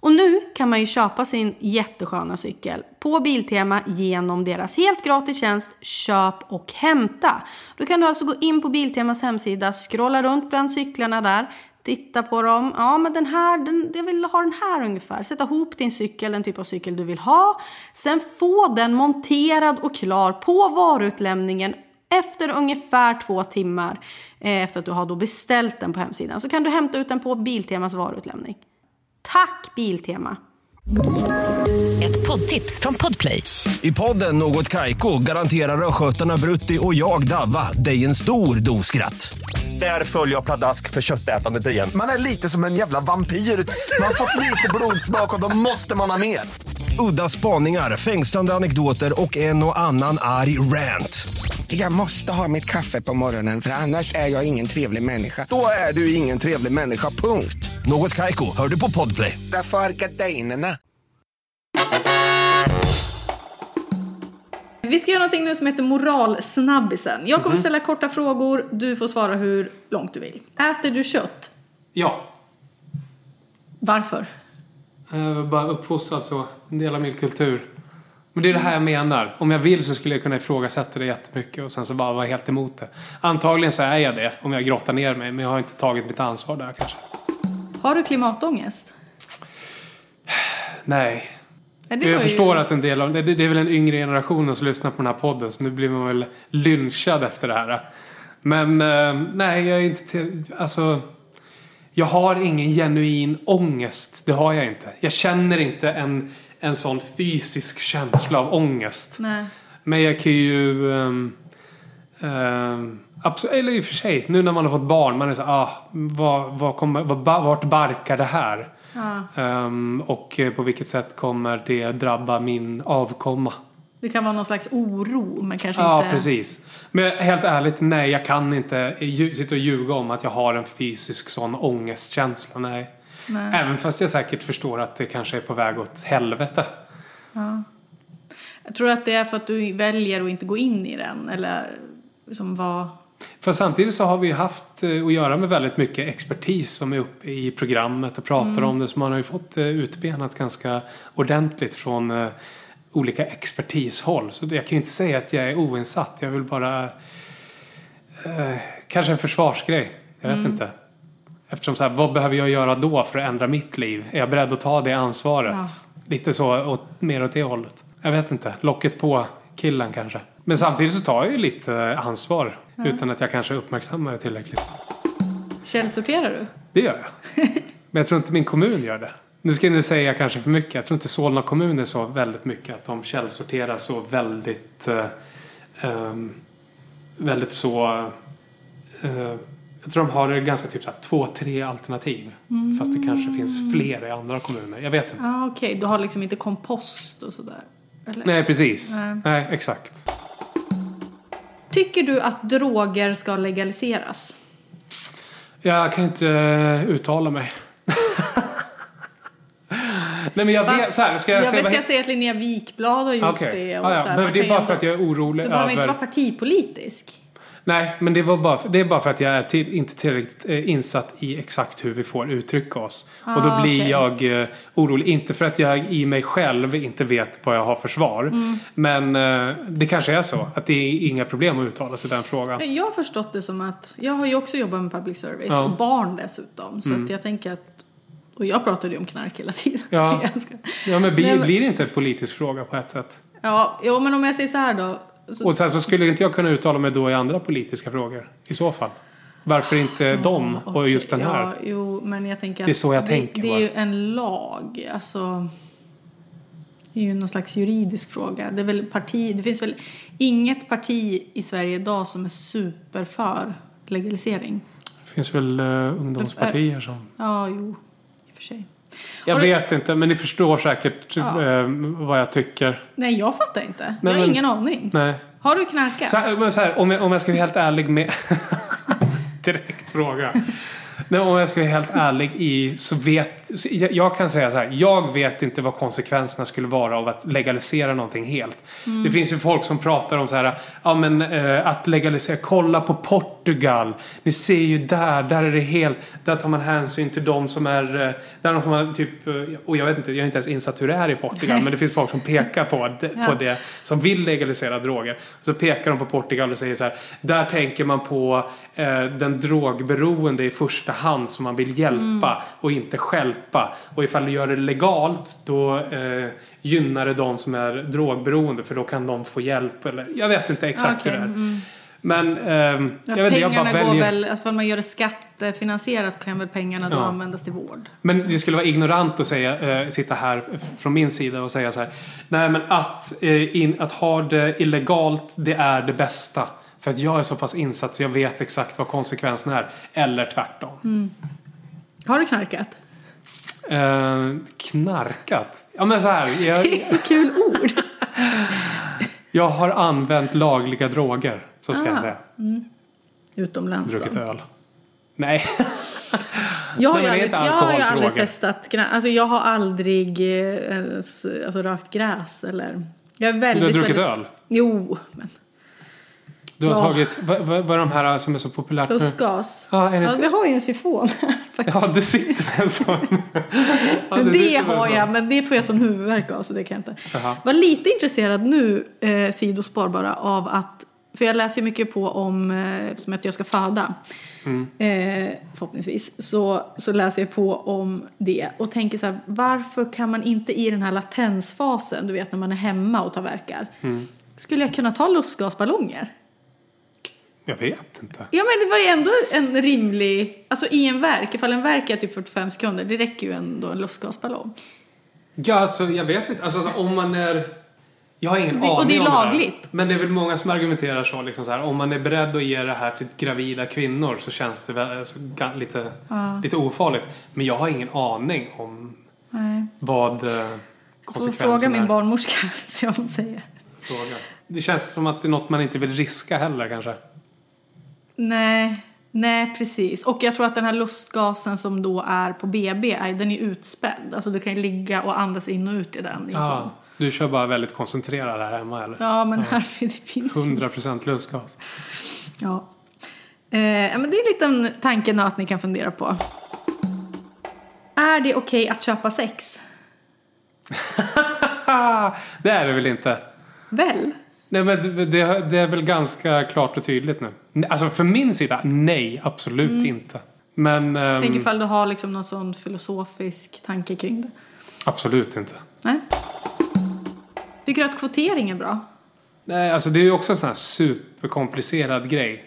S2: Och nu kan man ju köpa sin jättesköna cykel på Biltema genom deras helt gratis tjänst Köp och hämta. Då kan du alltså gå in på Biltemas hemsida, scrolla runt bland cyklarna där, titta på dem. Ja, men den här, den, jag vill ha den här ungefär. Sätta ihop din cykel, den typ av cykel du vill ha. Sen få den monterad och klar på varuutlämningen efter ungefär två timmar eh, efter att du har då beställt den på hemsidan så kan du hämta ut den på Biltemas varuutlämning. Tack Biltema!
S3: Ett poddtips från Podplay.
S4: I podden Något Kaiko garanterar östgötarna Brutti och jag, Davva, dig en stor dos skratt. Där följer jag pladask för köttätandet igen.
S5: Man är lite som en jävla vampyr. Man har fått lite blodsmak och då måste man ha mer.
S4: Udda spaningar, fängslande anekdoter och en och annan arg rant.
S5: Jag måste ha mitt kaffe på morgonen för annars är jag ingen trevlig människa. Då är du ingen trevlig människa, punkt.
S4: Något Kaiko, hör du på Podplay.
S5: Därför är gardinerna.
S2: Vi ska göra någonting nu som heter moralsnabbisen. Jag
S1: Mhm.
S2: kommer ställa korta frågor, du får svara hur långt du vill. Äter du kött?
S1: ja.
S2: Varför?
S1: Jag var Eh, bara uppfostrad så. En del av min kultur. Men det är det här jag menar. Om jag vill så skulle jag kunna ifrågasätta det jättemycket och sen så bara vara helt emot det. Antagligen så är jag det om jag grottar ner mig. Men jag har inte tagit mitt ansvar där kanske.
S2: Har du klimatångest?
S1: Nej. jag
S2: Nej, var ju-
S1: förstår att en del av... Det, det är väl den yngre generationen som lyssnar på den här podden. Så nu blir man väl lynchad efter det här. Men eh, nej, jag är inte till, Alltså... Jag har ingen genuin ångest. Det har jag inte. Jag känner inte en, en sån fysisk känsla av ångest.
S2: Nej.
S1: Men jag kan ju... ehm, ehm, abso- eller i och för sig, nu när man har fått barn, man är så ah, vad, vad kommer, vad, ba- vart barkar det här? Ehm, och eh, på vilket sätt kommer det drabba min avkomma?
S2: Det kan vara någon slags oro, men kanske
S1: Ja,
S2: inte...
S1: precis. Men helt ärligt, nej, jag kan inte lju- sitta och ljuga om att jag har en fysisk sån ångestkänsla. Nej. Även fast jag säkert förstår att det kanske är på väg åt helvete.
S2: Jag tror att det är för att du väljer att inte gå in i den, eller liksom vad...
S1: För samtidigt så har vi ju haft eh, att göra med väldigt mycket expertis som är uppe i programmet och pratar om det. Så man har ju fått eh, utbenat ganska ordentligt från eh, olika expertishåll. Så jag kan ju inte säga att jag är oinsatt. Jag vill bara... Eh, kanske en försvarsgrej. Jag vet inte. Eftersom så här, vad behöver jag göra då för att ändra mitt liv? Är jag beredd att ta det ansvaret? Lite så, åt, mer åt det hållet. Jag vet inte. Locket på killen kanske. Men samtidigt så tar jag ju lite ansvar. Utan att jag kanske uppmärksammar det tillräckligt.
S2: Källsorterar du?
S1: Det gör jag. Men jag tror inte min kommun gör det. Nu ska jag nu säga kanske för mycket. Jag tror inte Solna kommun är så väldigt mycket att de källsorterar så väldigt... Eh, ehm, väldigt så... Eh, jag tror de har ganska typ så här, två, tre alternativ. Fast det kanske finns fler i andra kommuner. Jag vet inte.
S2: Mm. Ja, ah, okej. Du har liksom inte kompost och sådär? Eller?
S1: Nej, precis.
S2: Nej.
S1: Nej, exakt.
S2: Tycker du att droger ska legaliseras?
S1: Jag kan inte eh, uttala mig. [laughs] Nej men jag vet,
S2: Fast-
S1: så här, ska jag,
S2: jag
S1: säga
S2: vet-
S1: vad
S2: ska säga att Linnea Wikblad har gjort
S1: Okej.
S2: det.
S1: Ah, ja.
S2: så här.
S1: Men
S2: Man
S1: det
S2: kan
S1: är bara
S2: ju
S1: för att jag är orolig
S2: Du behöver inte
S1: över-
S2: vara partipolitisk.
S1: Nej, men det, var bara för, det är bara för att jag är till, inte tillräckligt eh, insatt i exakt hur vi får uttrycka oss. och då
S2: Ah,
S1: blir
S2: okej.
S1: jag eh, orolig. Inte för att jag i mig själv inte vet vad jag har för svar.
S2: Mm.
S1: Men eh, det kanske är så. Att det är inga problem att uttala sig i den frågan.
S2: Men Jag har förstått det som att, jag har ju också jobbat med public service
S1: Ja. Mm.
S2: och barn dessutom. Så att jag tänker att, och jag pratade ju om knark hela tiden. [laughs]
S1: Ja.
S2: Ganska-
S1: Ja, men blir,
S2: Nej, men-
S1: blir det inte en politisk fråga på ett sätt?
S2: ja, jo, men om jag säger så här då. Så,
S1: Och sen så skulle inte jag kunna uttala mig då i andra politiska frågor. I så fall. Varför inte dem och
S2: Ah, okej,
S1: just den här?
S2: Ja, jo, men jag tänker att
S1: Det är så jag
S2: det,
S1: tänker
S2: det
S1: bara.
S2: är ju en lag, alltså. Det är ju någon slags juridisk fråga. Det, är väl parti, det finns väl inget parti i Sverige idag som är super för legalisering?
S1: Det finns väl eh, ungdomspartier som...
S2: Ja, jo, i och för sig.
S1: Jag
S2: Har du-
S1: vet inte, men ni förstår säkert eh, vad jag tycker.
S2: Nej, jag fattar inte.
S1: Nej,
S2: jag har
S1: men-
S2: ingen aning.
S1: Nej.
S2: Har du knarkat?
S1: Så här, men så här, om, jag, om jag ska vara helt ärlig med... [laughs] Direkt fråga. Nej, om jag ska vara helt ärlig i så vet... Så jag, jag kan säga så här. Jag vet inte vad konsekvenserna skulle vara av att legalisera någonting helt.
S2: Mm.
S1: Det finns ju folk som pratar om så här. Ja men eh, att legalisera. Kolla på Portugal. Ni ser ju där. Där är det helt... Där tar man hänsyn till de som är... eh, Där har man typ... eh, Och jag vet inte. Jag är inte ens insatt hur det är i Portugal. Men det finns folk som pekar på, det- på
S2: Ja.
S1: det. Som vill legalisera droger. Så pekar de på Portugal och säger så här. Där tänker man på eh, den drogberoende i första hand som man vill hjälpa
S2: Mm.
S1: och inte stjälpa. Och ifall du gör det legalt då eh, gynnar det de som är drogberoende för då kan de få hjälp. Eller, jag vet inte exakt
S2: Okej, mm.
S1: hur det är. Men ehm, jag vet inte, jag bara
S2: pengarna går
S1: väljer.
S2: väl, alltså om man gör det skattefinansierat kan väl pengarna då
S1: Ja.
S2: användas till vård?
S1: Men det skulle vara ignorant att säga, eh, sitta här f- från min sida och säga så här. Nej men att, eh, in, att ha det illegalt, det är det bästa. För att jag är så pass insatt så jag vet exakt vad konsekvensen är. Eller tvärtom.
S2: Mm. Har du knarkat?
S1: Eh, knarkat? Ja men så här.
S2: [laughs]
S1: Jag,
S2: Det är så kul ord!
S1: jag har använt lagliga droger. Så ska jag
S2: Ah.
S1: säga.
S2: Utomlands
S1: Druckit
S2: då.
S1: öl. Nej.
S2: Jag har
S1: Nej, men
S2: ju
S1: det är
S2: aldrig,
S1: inte
S2: jag har ju
S1: alkohol,
S2: aldrig
S1: droger.
S2: testat knark. Alltså jag har aldrig eh, ens, alltså, rökt gräs eller... Jag är
S1: Du har
S2: väldigt,
S1: druckit
S2: väldigt...
S1: öl?
S2: Jo, men
S1: Du har
S2: Ja.
S1: tagit, vad, vad, vad är de här som är så populärt nu?
S2: lustgas.
S1: Ja, är det
S2: Ja,
S1: inte-
S2: vi har ju en syfon här
S1: Ja, du sitter med en
S2: [laughs]
S1: sån. Ja, du
S2: Men det
S1: sitter med en
S2: har
S1: sån.
S2: jag, men det får jag som huvudvärk av så det kan jag inte.
S1: Jaha.
S2: Var lite intresserad nu, eh, sidospår bara, av att, för jag läser ju mycket på om, eh, eftersom att jag ska föda,
S1: Mm.
S2: eh, förhoppningsvis, så, så läser jag på om det och tänker så här, varför kan man inte i den här latensfasen, du vet när man är hemma och tar verkar,
S1: Mm.
S2: skulle jag kunna ta lustgasballonger?
S1: Jag vet inte.
S2: Ja men det var ju ändå en rimlig, alltså i en verk, ifall en verk är typ 45 sekunder, det räcker ju ändå en lustgasballong.
S1: Ja, alltså jag vet inte. Alltså så om man är... Jag har ingen
S2: Det-
S1: aning
S2: och det är
S1: om här.
S2: lagligt.
S1: Men det är väl många som argumenterar så, liksom så här, om man är beredd att ge det här till gravida kvinnor så känns det väl, alltså, ga- lite, lite ofarligt. Men jag har ingen aning om
S2: Nej.
S1: vad eh,
S2: Får
S1: konsekvenserna
S2: fråga min
S1: är.
S2: barnmorska, [laughs] se vad hon säger.
S1: Fråga. Det känns som att det är något man inte vill riska heller kanske.
S2: Nej, nej precis. Och jag tror att den här lustgasen som då är på BB, är- den är utspädd. Alltså du kan ju ligga och andas in och ut i den. Liksom.
S1: Ja, du kör bara väldigt koncentrerad här hemma eller?
S2: Ja, men här det finns ju.
S1: 100% lustgas. [laughs]
S2: Ja. Eh, ja, men det är en liten tankenöt ni kan fundera på. Är det okej att köpa sex?
S1: det är det väl inte?
S2: Väl?
S1: Nej, men det, det, det är väl ganska klart och tydligt nu. Alltså för min sida, nej, absolut inte. Men ehm,
S2: Tänk ifall du har liksom någon sån filosofisk tanke kring det.
S1: absolut inte.
S2: Nej. Tycker du att kvotering är bra?
S1: Nej, alltså det är ju också en sån här superkomplicerad grej.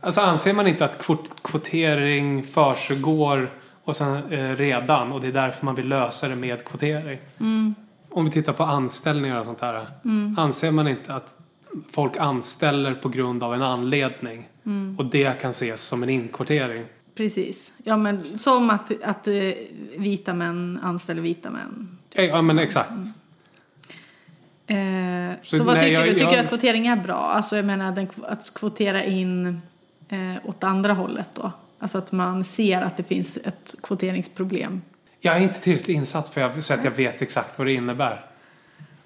S1: Alltså anser man inte att kvot- kvotering försiggår och sen, eh, redan och det är därför man vill lösa det med kvotering. Om vi tittar på anställningar och sånt här. Anser man inte att folk anställer på grund av en anledning och det kan ses som en inkvotering.
S2: Precis. Ja, men som att, att eh, vita män anställer vita män.
S1: Eh, Ja men exakt.
S2: Eh, så,
S1: Så
S2: vad
S1: nej,
S2: tycker
S1: jag-
S2: du? Tycker du
S1: jag-
S2: att kvotering är bra? Alltså jag menar den, att kvotera in eh, åt andra hållet då. Alltså att man ser att det finns ett kvoteringsproblem.
S1: Jag är inte tillräckligt insatt för jag, så att jag vet exakt vad det innebär.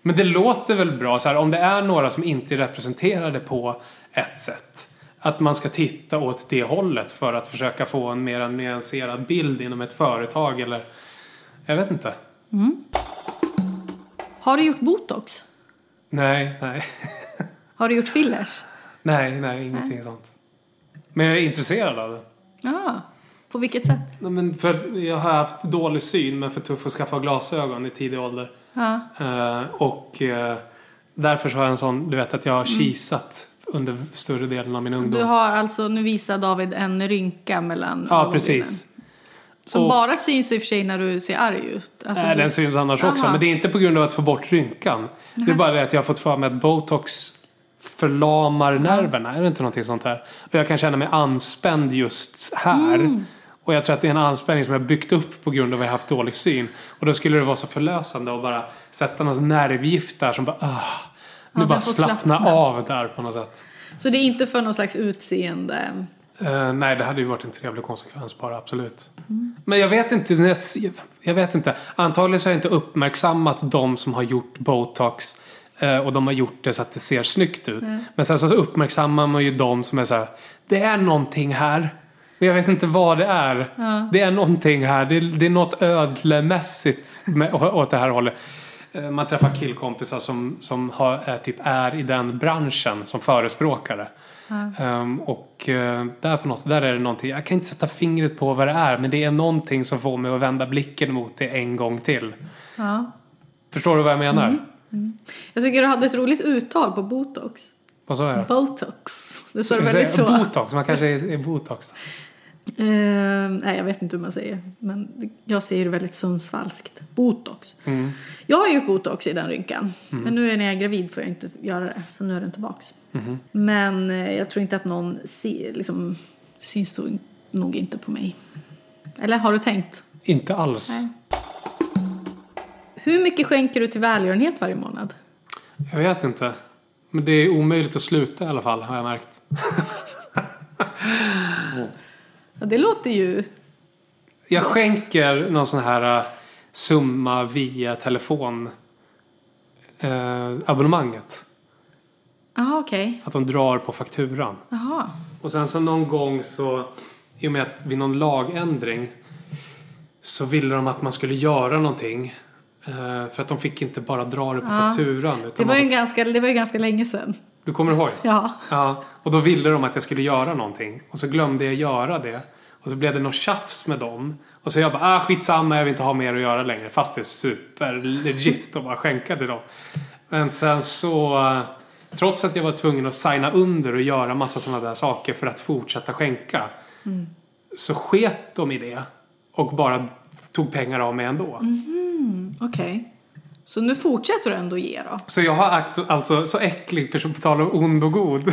S1: Men det låter väl bra, så här, om det är några som inte är representerade på ett sätt. Att man ska titta åt det hållet för att försöka få en mer nyanserad bild inom ett företag eller... Jag vet inte.
S2: Har du gjort botox?
S1: Nej, nej. [laughs]
S2: Har du gjort fillers?
S1: Nej, nej, ingenting sånt. Men jag är intresserad av det.
S2: Ja. På vilket sätt?
S1: Nej, Men för, jag har haft dålig syn men för tuff att skaffa glasögon i tidig ålder.
S2: Ja.
S1: Eh, och eh, därför så har jag en sån, du vet att jag har kisat under större delen av min ungdom.
S2: Mm. Du har alltså, nu visar David en rynka mellan
S1: ja,
S2: ögonbrynen.
S1: precis.
S2: Som
S1: Och-
S2: bara syns i och för sig när du ser arg ut. Alltså,
S1: Nej,
S2: du-
S1: den syns annars också.
S2: Aha.
S1: Men det är inte på grund av att få bort rynkan. Det är bara det att jag har fått för mig att botox förlamar nerverna. Är det inte någonting sånt här? Och jag kan känna mig anspänd just här.
S2: Mm.
S1: Och jag tror att det är en anspänning som jag byggt upp på grund av att jag haft dålig syn. Och då skulle det vara så förlösande att bara sätta någon nervgift där som bara... Ah, nu
S2: den
S1: bara
S2: får
S1: slappna,
S2: slappna.
S1: av där på något sätt.
S2: Så det är inte för någon slags utseende.
S1: Eh, nej, det hade ju varit en trevlig konsekvens bara, absolut. Men jag vet inte, när jag, ser- jag vet inte. Antagligen så har jag inte uppmärksammat de som har gjort botox eh, och de har gjort det så att det ser snyggt ut. Men sen så uppmärksammar man ju de som är så här, det är någonting här. Men jag vet inte vad det är. Det är någonting här. Det är, det är något ödlemässigt med, å- åt det här hållet. Eh, Man träffar killkompisar som, som har, är, typ är i den branschen som förespråkare. Ehm, och eh, där, på något, där är det någonting, jag kan inte sätta fingret på vad det är men det är någonting som får mig att vända blicken mot det en gång till.
S2: Ja. Mm.
S1: Förstår du vad jag menar?
S2: Jag tycker du hade ett roligt uttal på botox.
S1: Vad sa jag?
S2: Botox. Det sa du
S1: Jag
S2: väldigt så.
S1: säger Botox, man kanske är, är botox.
S2: Eh, nej, jag vet inte hur man säger. Men jag säger det väldigt sundsvallskt. Botox. Jag har gjort botox i den rynkan. Men nu är när jag är gravid får jag inte göra det. Så nu är den tillbaks. Men eh, jag tror inte att någon ser, liksom, syns då nog inte på mig. Eller har du tänkt?
S1: Inte alls.
S2: Nej. Hur mycket skänker du till välgörenhet varje månad?
S1: Jag vet inte. Men det är omöjligt att sluta i alla fall har jag märkt.
S2: Ja, det låter ju...
S1: Jag skänker någon sån här eh, summa via telefon eh, abonnemanget.
S2: Jaha, okej.
S1: Att de drar på fakturan.
S2: Jaha.
S1: Och sen så någon gång så, i och med att vid någon lagändring så ville de att man skulle göra någonting. eh, För att de fick inte bara dra det på fakturan. Utan
S2: Det var, ju
S1: man-
S2: en ganska, det var ju ganska länge sedan.
S1: Du kommer ihåg?
S2: Ja.
S1: Ja, och då ville de att jag skulle göra någonting. Och så glömde jag göra det. Och så blev det något tjafs med dem. Och så jag bara, ah skitsamma, jag vill inte ha mer att göra längre. Fast det är super legit att bara skänka till dem. Men sen så, eh, trots att jag var tvungen att signa under och göra massa sådana där saker för att fortsätta skänka. Så sket de i det. Och bara tog pengar av mig ändå.
S2: Okej. Så nu fortsätter du ändå ge då?
S1: Så jag har akt, alltså så äcklig person, på tal om ond och god.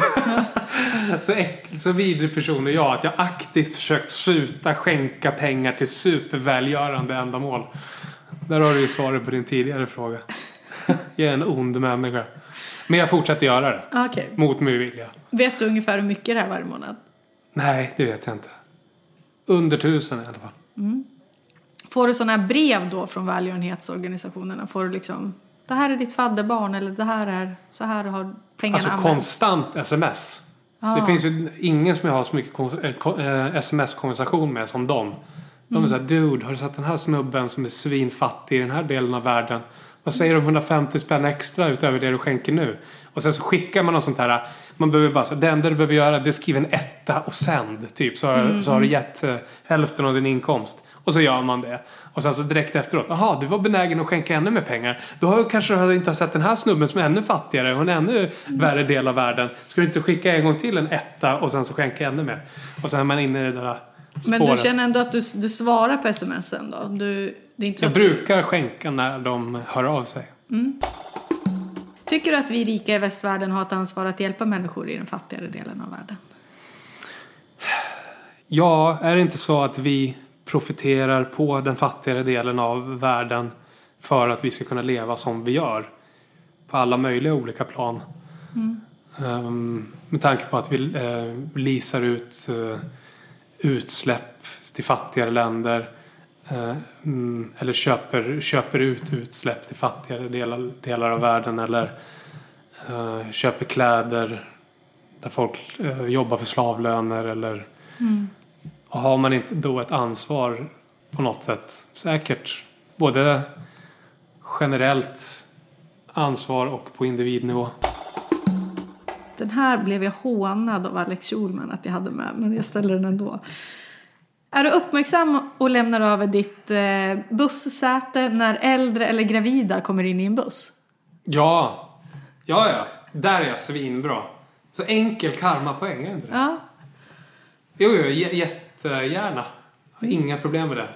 S1: [laughs] så, äck, så vidrig person är jag att jag aktivt försökt sluta skänka pengar till supervälgörande ändamål. Där har du ju svaret på din tidigare fråga. [laughs] jag är en ond människa. Men jag fortsätter göra det.
S2: Ah, Okej.
S1: Mot min vilja.
S2: Vet du ungefär hur mycket det är varje månad?
S1: Nej, det vet jag inte. Under tusen i alla fall.
S2: Får du sådana här brev då från välgörenhetsorganisationerna? Får du liksom, det här är ditt fadderbarn eller det här är, så här har pengarna
S1: Alltså
S2: använts?
S1: konstant sms.
S2: Ja.
S1: Det finns ju ingen som jag har så mycket kon- eh, ko- eh, sms-konversation med som dem. De är såhär, dude, har du sett den här snubben som är svinfattig i den här delen av världen? Vad säger du om 150 spänn extra utöver det du skänker nu? Och sen så skickar man något sånt här. Man behöver bara så här, det enda du behöver göra det är skriva en etta och sänd. Typ så, har- så har du gett eh, hälften av din inkomst. Och så gör man det. Och sen så direkt efteråt, jaha, du var benägen att skänka ännu mer pengar. Då har du kanske du inte har sett den här snubben som är ännu fattigare och en ännu värre del av världen. Ska du inte skicka en gång till en etta och sen så skänka ännu mer? Och sen är man inne i det där spåret.
S2: Men du känner ändå att du, du svarar på smsen då? Du, det är inte så
S1: Jag
S2: att du-
S1: brukar skänka när de hör av sig.
S2: Tycker du att vi rika i västvärlden har ett ansvar att hjälpa människor i den fattigare delen av världen?
S1: Ja, är det inte så att vi profiterar på den fattigare delen av världen för att vi ska kunna leva som vi gör? På alla möjliga olika plan. Ehm, med tanke på att vi uh, leasar ut eh, utsläpp till fattigare länder. eh, mm, eller köper, köper ut utsläpp till fattigare delar, delar av världen. Eller eh, köper kläder där folk eh, jobbar för slavlöner. Eller och har man inte då ett ansvar på något sätt, säkert, både generellt ansvar och på individnivå.
S2: Den här blev jag hånad av Alex Schulman att jag hade med, men jag ställer den ändå. Är du uppmärksam och lämnar över ditt eh, bussäte när äldre eller gravida kommer in i en buss?
S1: Ja, ja, ja, där är jag svinbra. Så enkel karmapoäng, är det inte det?
S2: Ja.
S1: Jo, jo, j- jättegärna. Har inga problem med det.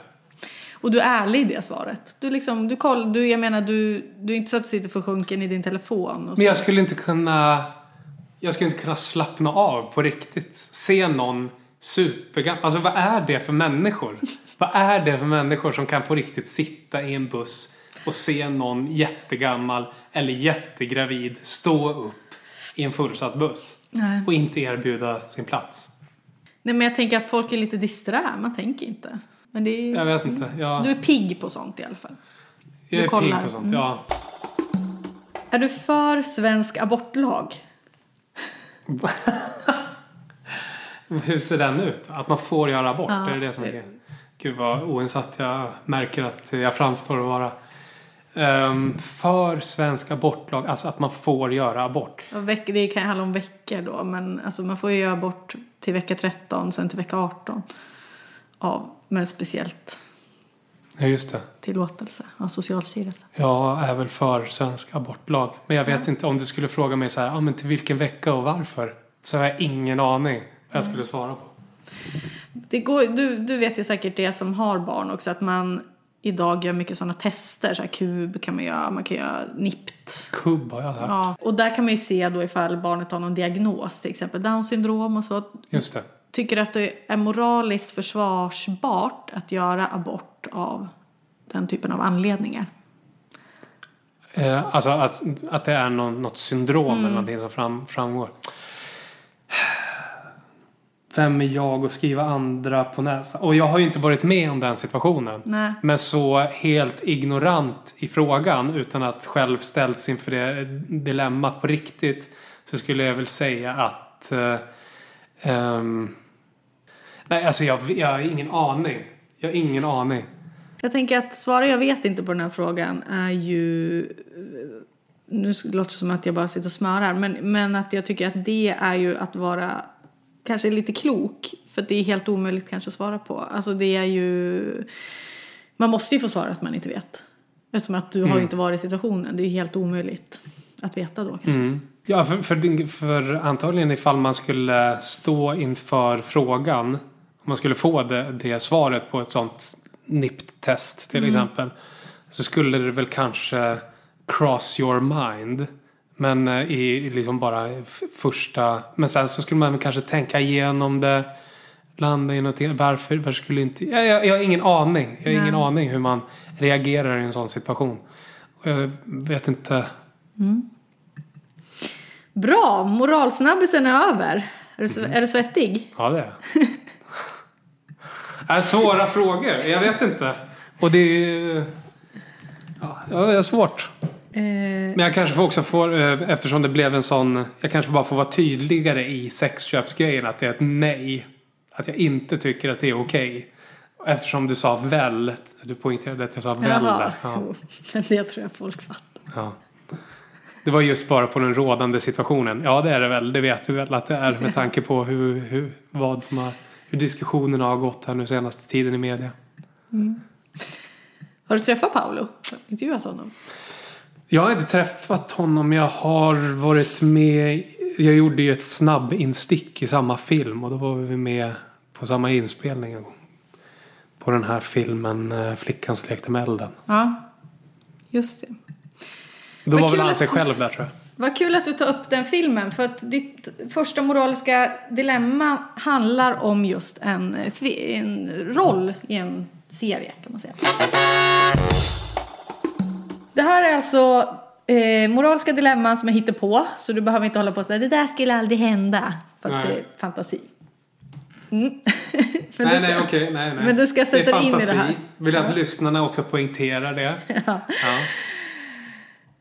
S2: Och du är ärlig i det svaret. Du liksom, du koll, du, jag menar, du, du är inte så att du sitter försjunken i din telefon. Och så.
S1: Men jag skulle inte kunna... Jag skulle inte kunna slappna av på riktigt. Se någon supergammal... Alltså vad är det för människor? vad är det för människor som kan på riktigt sitta i en buss och se någon jättegammal eller jättegravid stå upp i en fullsatt buss?
S2: Nej.
S1: Och inte erbjuda sin plats?
S2: Nej, men jag tänker att folk är lite disträ, man tänker inte. Men det är,
S1: Jag vet inte. Jag,
S2: Du är pigg på sånt i alla fall.
S1: jag är
S2: kollar. Mm.
S1: pigg på sånt. Ja.
S2: Är du för svensk abortlag?
S1: Hur ser den ut? Att man får göra abort?
S2: Ja.
S1: Är det det som är grejen? Gud vad oinsatt jag märker att jag framstår att vara. Ehm, för svensk abortlag, alltså att man får göra abort.
S2: Ja, veck- Det kan ju handla om veckor då, men alltså man får ju göra abort till vecka 13, sen till vecka 18. Ja, men speciellt
S1: Ja, just det.
S2: tillåtelse av Socialstyrelsen.
S1: Jag är väl för svensk abortlag. Men jag vet inte om du skulle fråga mig så här, ah, men till vilken vecka och varför? Så har jag ingen aning vad jag skulle
S2: Mm.
S1: svara på.
S2: Det går, du, du vet ju säkert det som har barn också, att man idag gör mycket sådana tester, så här kub kan man göra, man kan göra NIPT.
S1: Kubb har jag hört.
S2: Ja, och där kan man ju se då ifall barnet har någon diagnos, till exempel down syndrom och så.
S1: Just det.
S2: Tycker du att det är moraliskt försvarsbart att göra abort av den typen av anledningar?
S1: Eh, alltså att, att det är någon, något syndrom eller någonting som fram, framgår. Vem är jag att skriva andra på näsan? Och jag har ju inte varit med om den situationen.
S2: Nej.
S1: Men så helt ignorant i frågan utan att själv ställts inför det dilemmat på riktigt. Så skulle jag väl säga att... Eh, ehm, nej, alltså jag, jag har ingen aning. Jag har ingen aning.
S2: Jag tänker att svara jag vet inte på den här frågan är ju... Nu låter det som att jag bara sitter och smörar. Men, men att jag tycker att det är ju att vara kanske lite klok. För att det är helt omöjligt kanske att svara på. Alltså det är ju... Man måste ju få svara att man inte vet. Eftersom att du
S1: Mm.
S2: har ju inte varit i situationen. Det är ju helt omöjligt att veta då
S1: Mm.
S2: kanske.
S1: Ja, för, för, för antagligen ifall man skulle stå inför frågan. Om man skulle få det, det svaret på ett sånt NIPT-test till exempel. Så skulle det väl kanske cross your mind. Men eh, i i liksom bara f- första... Men sen så skulle man väl kanske tänka igenom det. Landa i någonting. Varför, varför skulle inte... Jag, jag, jag har ingen aning. Jag har ingen aning hur man reagerar i en sån situation. Och Jag vet inte.
S2: Bra! Moralsnabbisen är över. Är du,
S1: Mm.
S2: sve- är du svettig?
S1: Ja, det är jag. Är svåra frågor. Jag vet inte. Och det är ju- Ja, det är svårt. Men jag kanske får också får, eh, eftersom det blev en sån, jag kanske bara får vara tydligare i sexköpsgrejen att det är ett nej. Att jag inte tycker att det är okej. Eftersom du sa väl. Du poängterade att jag sa väl
S2: Eh, Jaha,
S1: där. Ja,
S2: jo. [laughs] Men det tror jag folk fattar.
S1: ja. Det var just bara på den rådande situationen. Ja, det är det väl. Det vet vi väl att det är med tanke på hur, hur, vad som har, hur diskussionerna har gått här nu senaste tiden i media.
S2: Har du träffat Paolo? Intervjuat honom?
S1: Jag har inte träffat honom. Jag har varit med. Jag gjorde ju ett snabbinstick i samma film och då var vi med på samma inspelning en gång. På den här filmen eh, Flickan som lekte med elden.
S2: Ja, just det.
S1: Då
S2: Vad
S1: var väl
S2: kul
S1: han
S2: att
S1: sig
S2: du-
S1: själv där tror jag.
S2: Vad kul att du tar upp den filmen för att ditt första moraliska dilemma handlar om just en, eh, fi- en roll i en serie kan man säga. Det här är alltså eh, moraliska dilemman som jag hittar på så du behöver inte hålla på och säga det där skulle aldrig hända för att
S1: Nej.
S2: det är fantasi. Mm. [laughs] Men du
S1: nej,
S2: ska-
S1: nej, okej. Nej, nej.
S2: Men du ska sätta dig in i det här.
S1: Vill att lyssnarna också poängterar
S2: [laughs]
S1: det. Ja.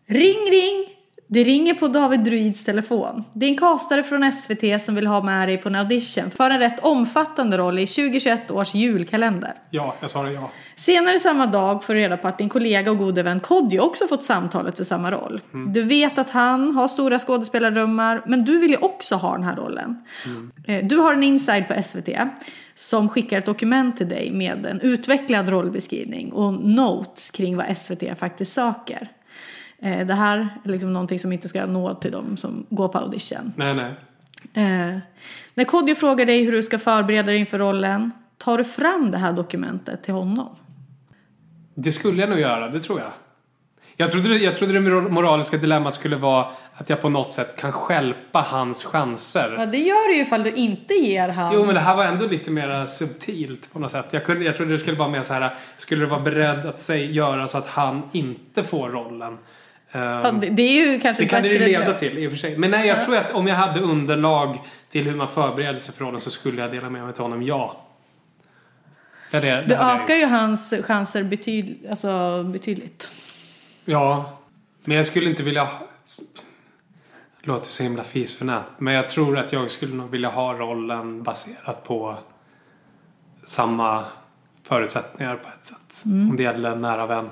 S2: Ring, ring! Det ringer på David Druids telefon. Det är en kastare från SVT som vill ha med dig på en audition för en rätt omfattande roll i 2021 års julkalender.
S1: ja, jag svarar ja.
S2: Senare samma dag får du reda på att din kollega och gode vän Kodjo också fått samtalet för samma roll. Du vet att han har stora skådespelardrömmar, men du vill ju också ha den här rollen. Eh, Du har en inside på SVT som skickar ett dokument till dig med en utvecklad rollbeskrivning och notes kring vad SVT faktiskt söker. Eh, Det här är liksom någonting som inte ska nå till dem som går på audition.
S1: Nej, nej.
S2: Eh, när Kodjo frågar dig hur du ska förbereda dig inför rollen, tar du fram det här dokumentet till honom?
S1: Det skulle jag nog göra, det tror jag. Jag trodde, det- jag trodde det mor- moraliska dilemmat skulle vara att jag på något sätt kan skälpa hans chanser.
S2: Ja, det gör du ju ifall du inte ger han.
S1: Jo, men det här var ändå lite mer subtilt på något sätt. Jag, kunde, jag trodde det skulle vara mer så här, skulle du vara beredd att säg, göra så att han inte får rollen? Eh,
S2: Ja, det, det är ju kanske
S1: Det kan det ju
S2: bättre
S1: leda
S2: dröm.
S1: till i och för sig. Men nej, jag tror att om jag hade underlag till hur man förbereder sig för rollen så skulle jag dela med mig till honom, ja. Ja, det, det hade
S2: Du
S1: jag
S2: ökar
S1: gjort.
S2: ju hans chanser betyd, alltså, betydligt.
S1: Ja. Men jag skulle inte vilja... ha- Det låter så himla fisförnämt. Men jag tror att jag skulle nog vilja ha rollen baserat på samma förutsättningar på ett sätt.
S2: Mm.
S1: Om det gäller en nära vän.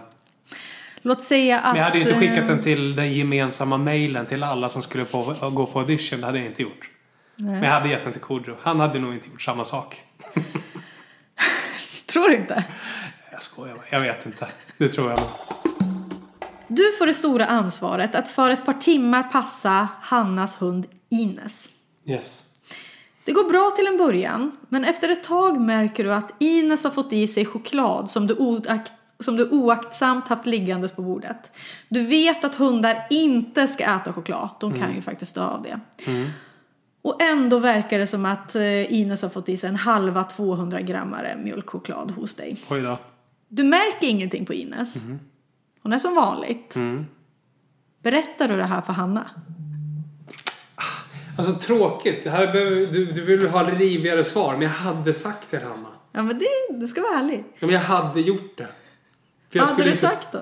S2: Låt säga att...
S1: Men jag hade ju inte skickat
S2: eh,
S1: den till den gemensamma mailen till alla som skulle på, gå på audition. Det hade jag inte gjort. Men jag hade gett den till Kodjo. Han hade nog inte gjort samma sak.
S2: eh, Tror du inte?
S1: Jag skojar bara. Jag vet inte. Det tror jag nog.
S2: Du får det stora ansvaret att för ett par timmar passa Hannas hund Ines.
S1: Yes.
S2: Det går bra till en början, men efter ett tag märker du att Ines har fått i sig choklad som du, oakt, som du oaktsamt haft liggandes på bordet. Du vet att hundar inte ska äta choklad, de
S1: Mm.
S2: kan ju faktiskt dö av det. Och ändå verkar det som att eh, Ines har fått i sig en halva 200 grammare mjölkchoklad hos dig.
S1: Oj då.
S2: Du märker ingenting på Ines.
S1: Mm.
S2: Hon är som vanligt. Berättar du det här för Hanna?
S1: Alltså tråkigt. Det här behöver, du, du vill ha rivigare svar. Men jag hade sagt till Hanna.
S2: Ja, men det, du ska vara ärlig.
S1: Ja, men jag hade gjort det. För jag
S2: Vad hade
S1: skulle
S2: du
S1: inte-
S2: sagt då?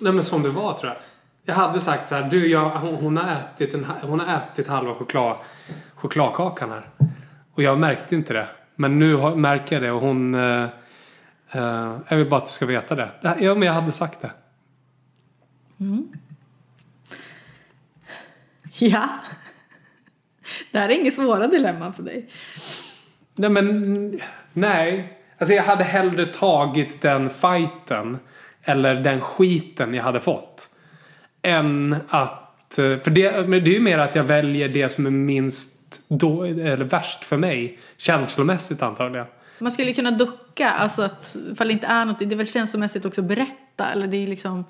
S1: Nej men som det var tror jag. Jag hade sagt så här, du jag, hon, hon, har ätit en, hon har ätit halva choklad, chokladkakan här. Och jag märkte inte det. Men nu har, märker jag det och hon... Eh, eh, jag vill bara att du ska veta det. Det här- Ja men jag hade sagt det.
S2: Ja. Det här är inget svåra dilemma för dig.
S1: Nej men... Nej. Alltså jag hade hellre tagit den fighten. Eller den skiten jag hade fått. Än att... eh, För det, men det är ju mer att jag väljer det som är minst då, eller värst för mig. Känslomässigt antagligen.
S2: Man skulle kunna ducka, alltså att ifall det inte är något, det är väl känslomässigt också att berätta, eller det är liksom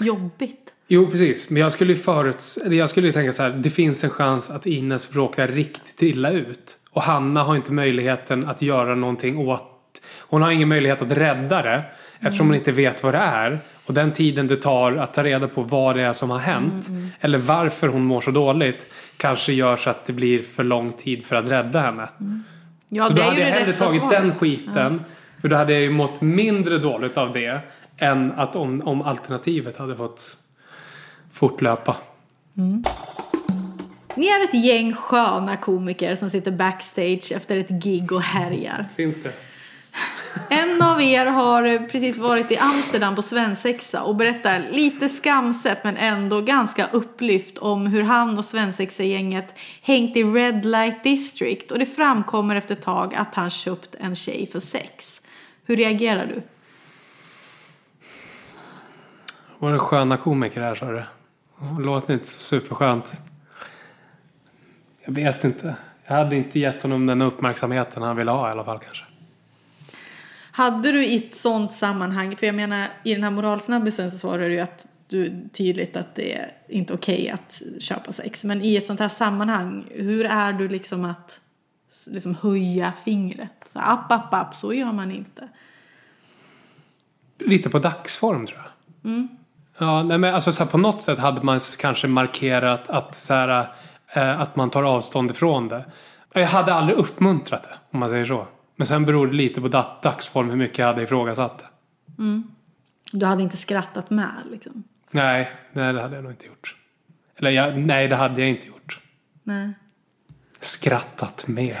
S2: jobbigt.
S1: Jo, precis. Men jag skulle ju föruts... eller Jag skulle ju tänka så här. Det finns en chans att Ines råkar riktigt illa ut. Och Hanna har inte möjligheten att göra någonting åt... Hon har ingen möjlighet att rädda det. Eftersom hon inte vet vad det är. Och den tiden det tar att ta reda på vad det är som har hänt. Eller varför hon mår så dåligt. Kanske gör så att det blir för lång tid för att rädda henne.
S2: Ja,
S1: Så då hade jag
S2: det
S1: hellre
S2: rätta
S1: tagit
S2: svaret.
S1: den skiten. För då hade jag ju mått mindre dåligt av det. Än att om, om alternativet hade fått fortlöpa.
S2: Ni är ett gäng sköna komiker som sitter backstage efter ett gig och härjar.
S1: Finns det?
S2: En av er har eh, precis varit i Amsterdam på svensexa och berättar lite skamset men ändå ganska upplyft om hur han och svensexa-gänget hängt i Red Light District och det framkommer efter ett tag att han köpt en tjej för sex. Hur reagerar du?
S1: Var det sköna komiker här sa du? Låter inte så superskönt. Jag vet inte. Jag hade inte gett honom den uppmärksamheten han ville ha i alla fall kanske.
S2: Hade du i ett sånt sammanhang, för jag menar i den här moralsnabbisen så svarar du ju att du tydligt att det är inte okej att köpa sex. Men i ett sånt här sammanhang, hur är du liksom att s- liksom höja fingret? Så, app, app, app, så gör man inte.
S1: Lite på dagsform tror jag. Ja, nej, men alltså, så här, på något sätt hade man s- kanske markerat att, så här, eh, att man tar avstånd ifrån det. Jag hade aldrig uppmuntrat det, om man säger så. Men sen beror det lite på dat- dagsform hur mycket jag hade ifrågasatt det.
S2: Du hade inte skrattat med liksom.
S1: Nej, nej det hade jag nog inte gjort. Eller jag, nej, det hade jag inte gjort.
S2: Nej.
S1: Skrattat med.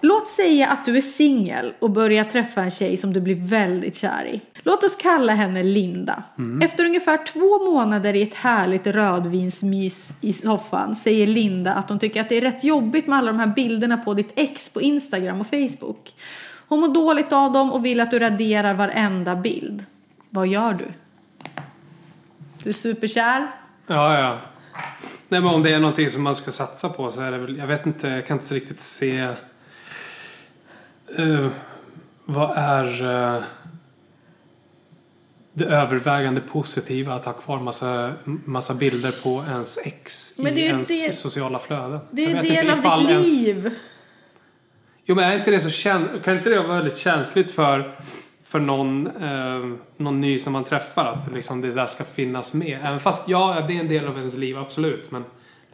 S2: Låt säga att du är singel och börjar träffa en tjej som du blir väldigt kär i. Låt oss kalla henne Linda.
S1: Mm.
S2: Efter ungefär två månader i ett härligt rödvinsmys i soffan säger Linda att hon tycker att det är rätt jobbigt med alla de här bilderna på ditt ex på Instagram och Facebook. Hon mår dåligt av dem och vill att du raderar varenda bild. Vad gör du? Du är superkär.
S1: Ja, ja. Nej, men om det är någonting som man ska satsa på så är det väl... Jag vet inte, jag kan inte riktigt se... eh, vad är eh, det övervägande positiva att ha kvar massa, massa bilder på ens ex
S2: Men det är
S1: i
S2: ju
S1: ens
S2: det-
S1: sociala flöden?
S2: Det är
S1: Jag
S2: ju
S1: vet
S2: del
S1: inte
S2: av
S1: ifall
S2: ditt
S1: ens-
S2: liv.
S1: Jo men är inte det så käns- kan inte det vara väldigt känsligt för, för någon, eh, någon ny som man träffar? Att liksom det där ska finnas med. Även fast ja, det är en del av ens liv, absolut. Men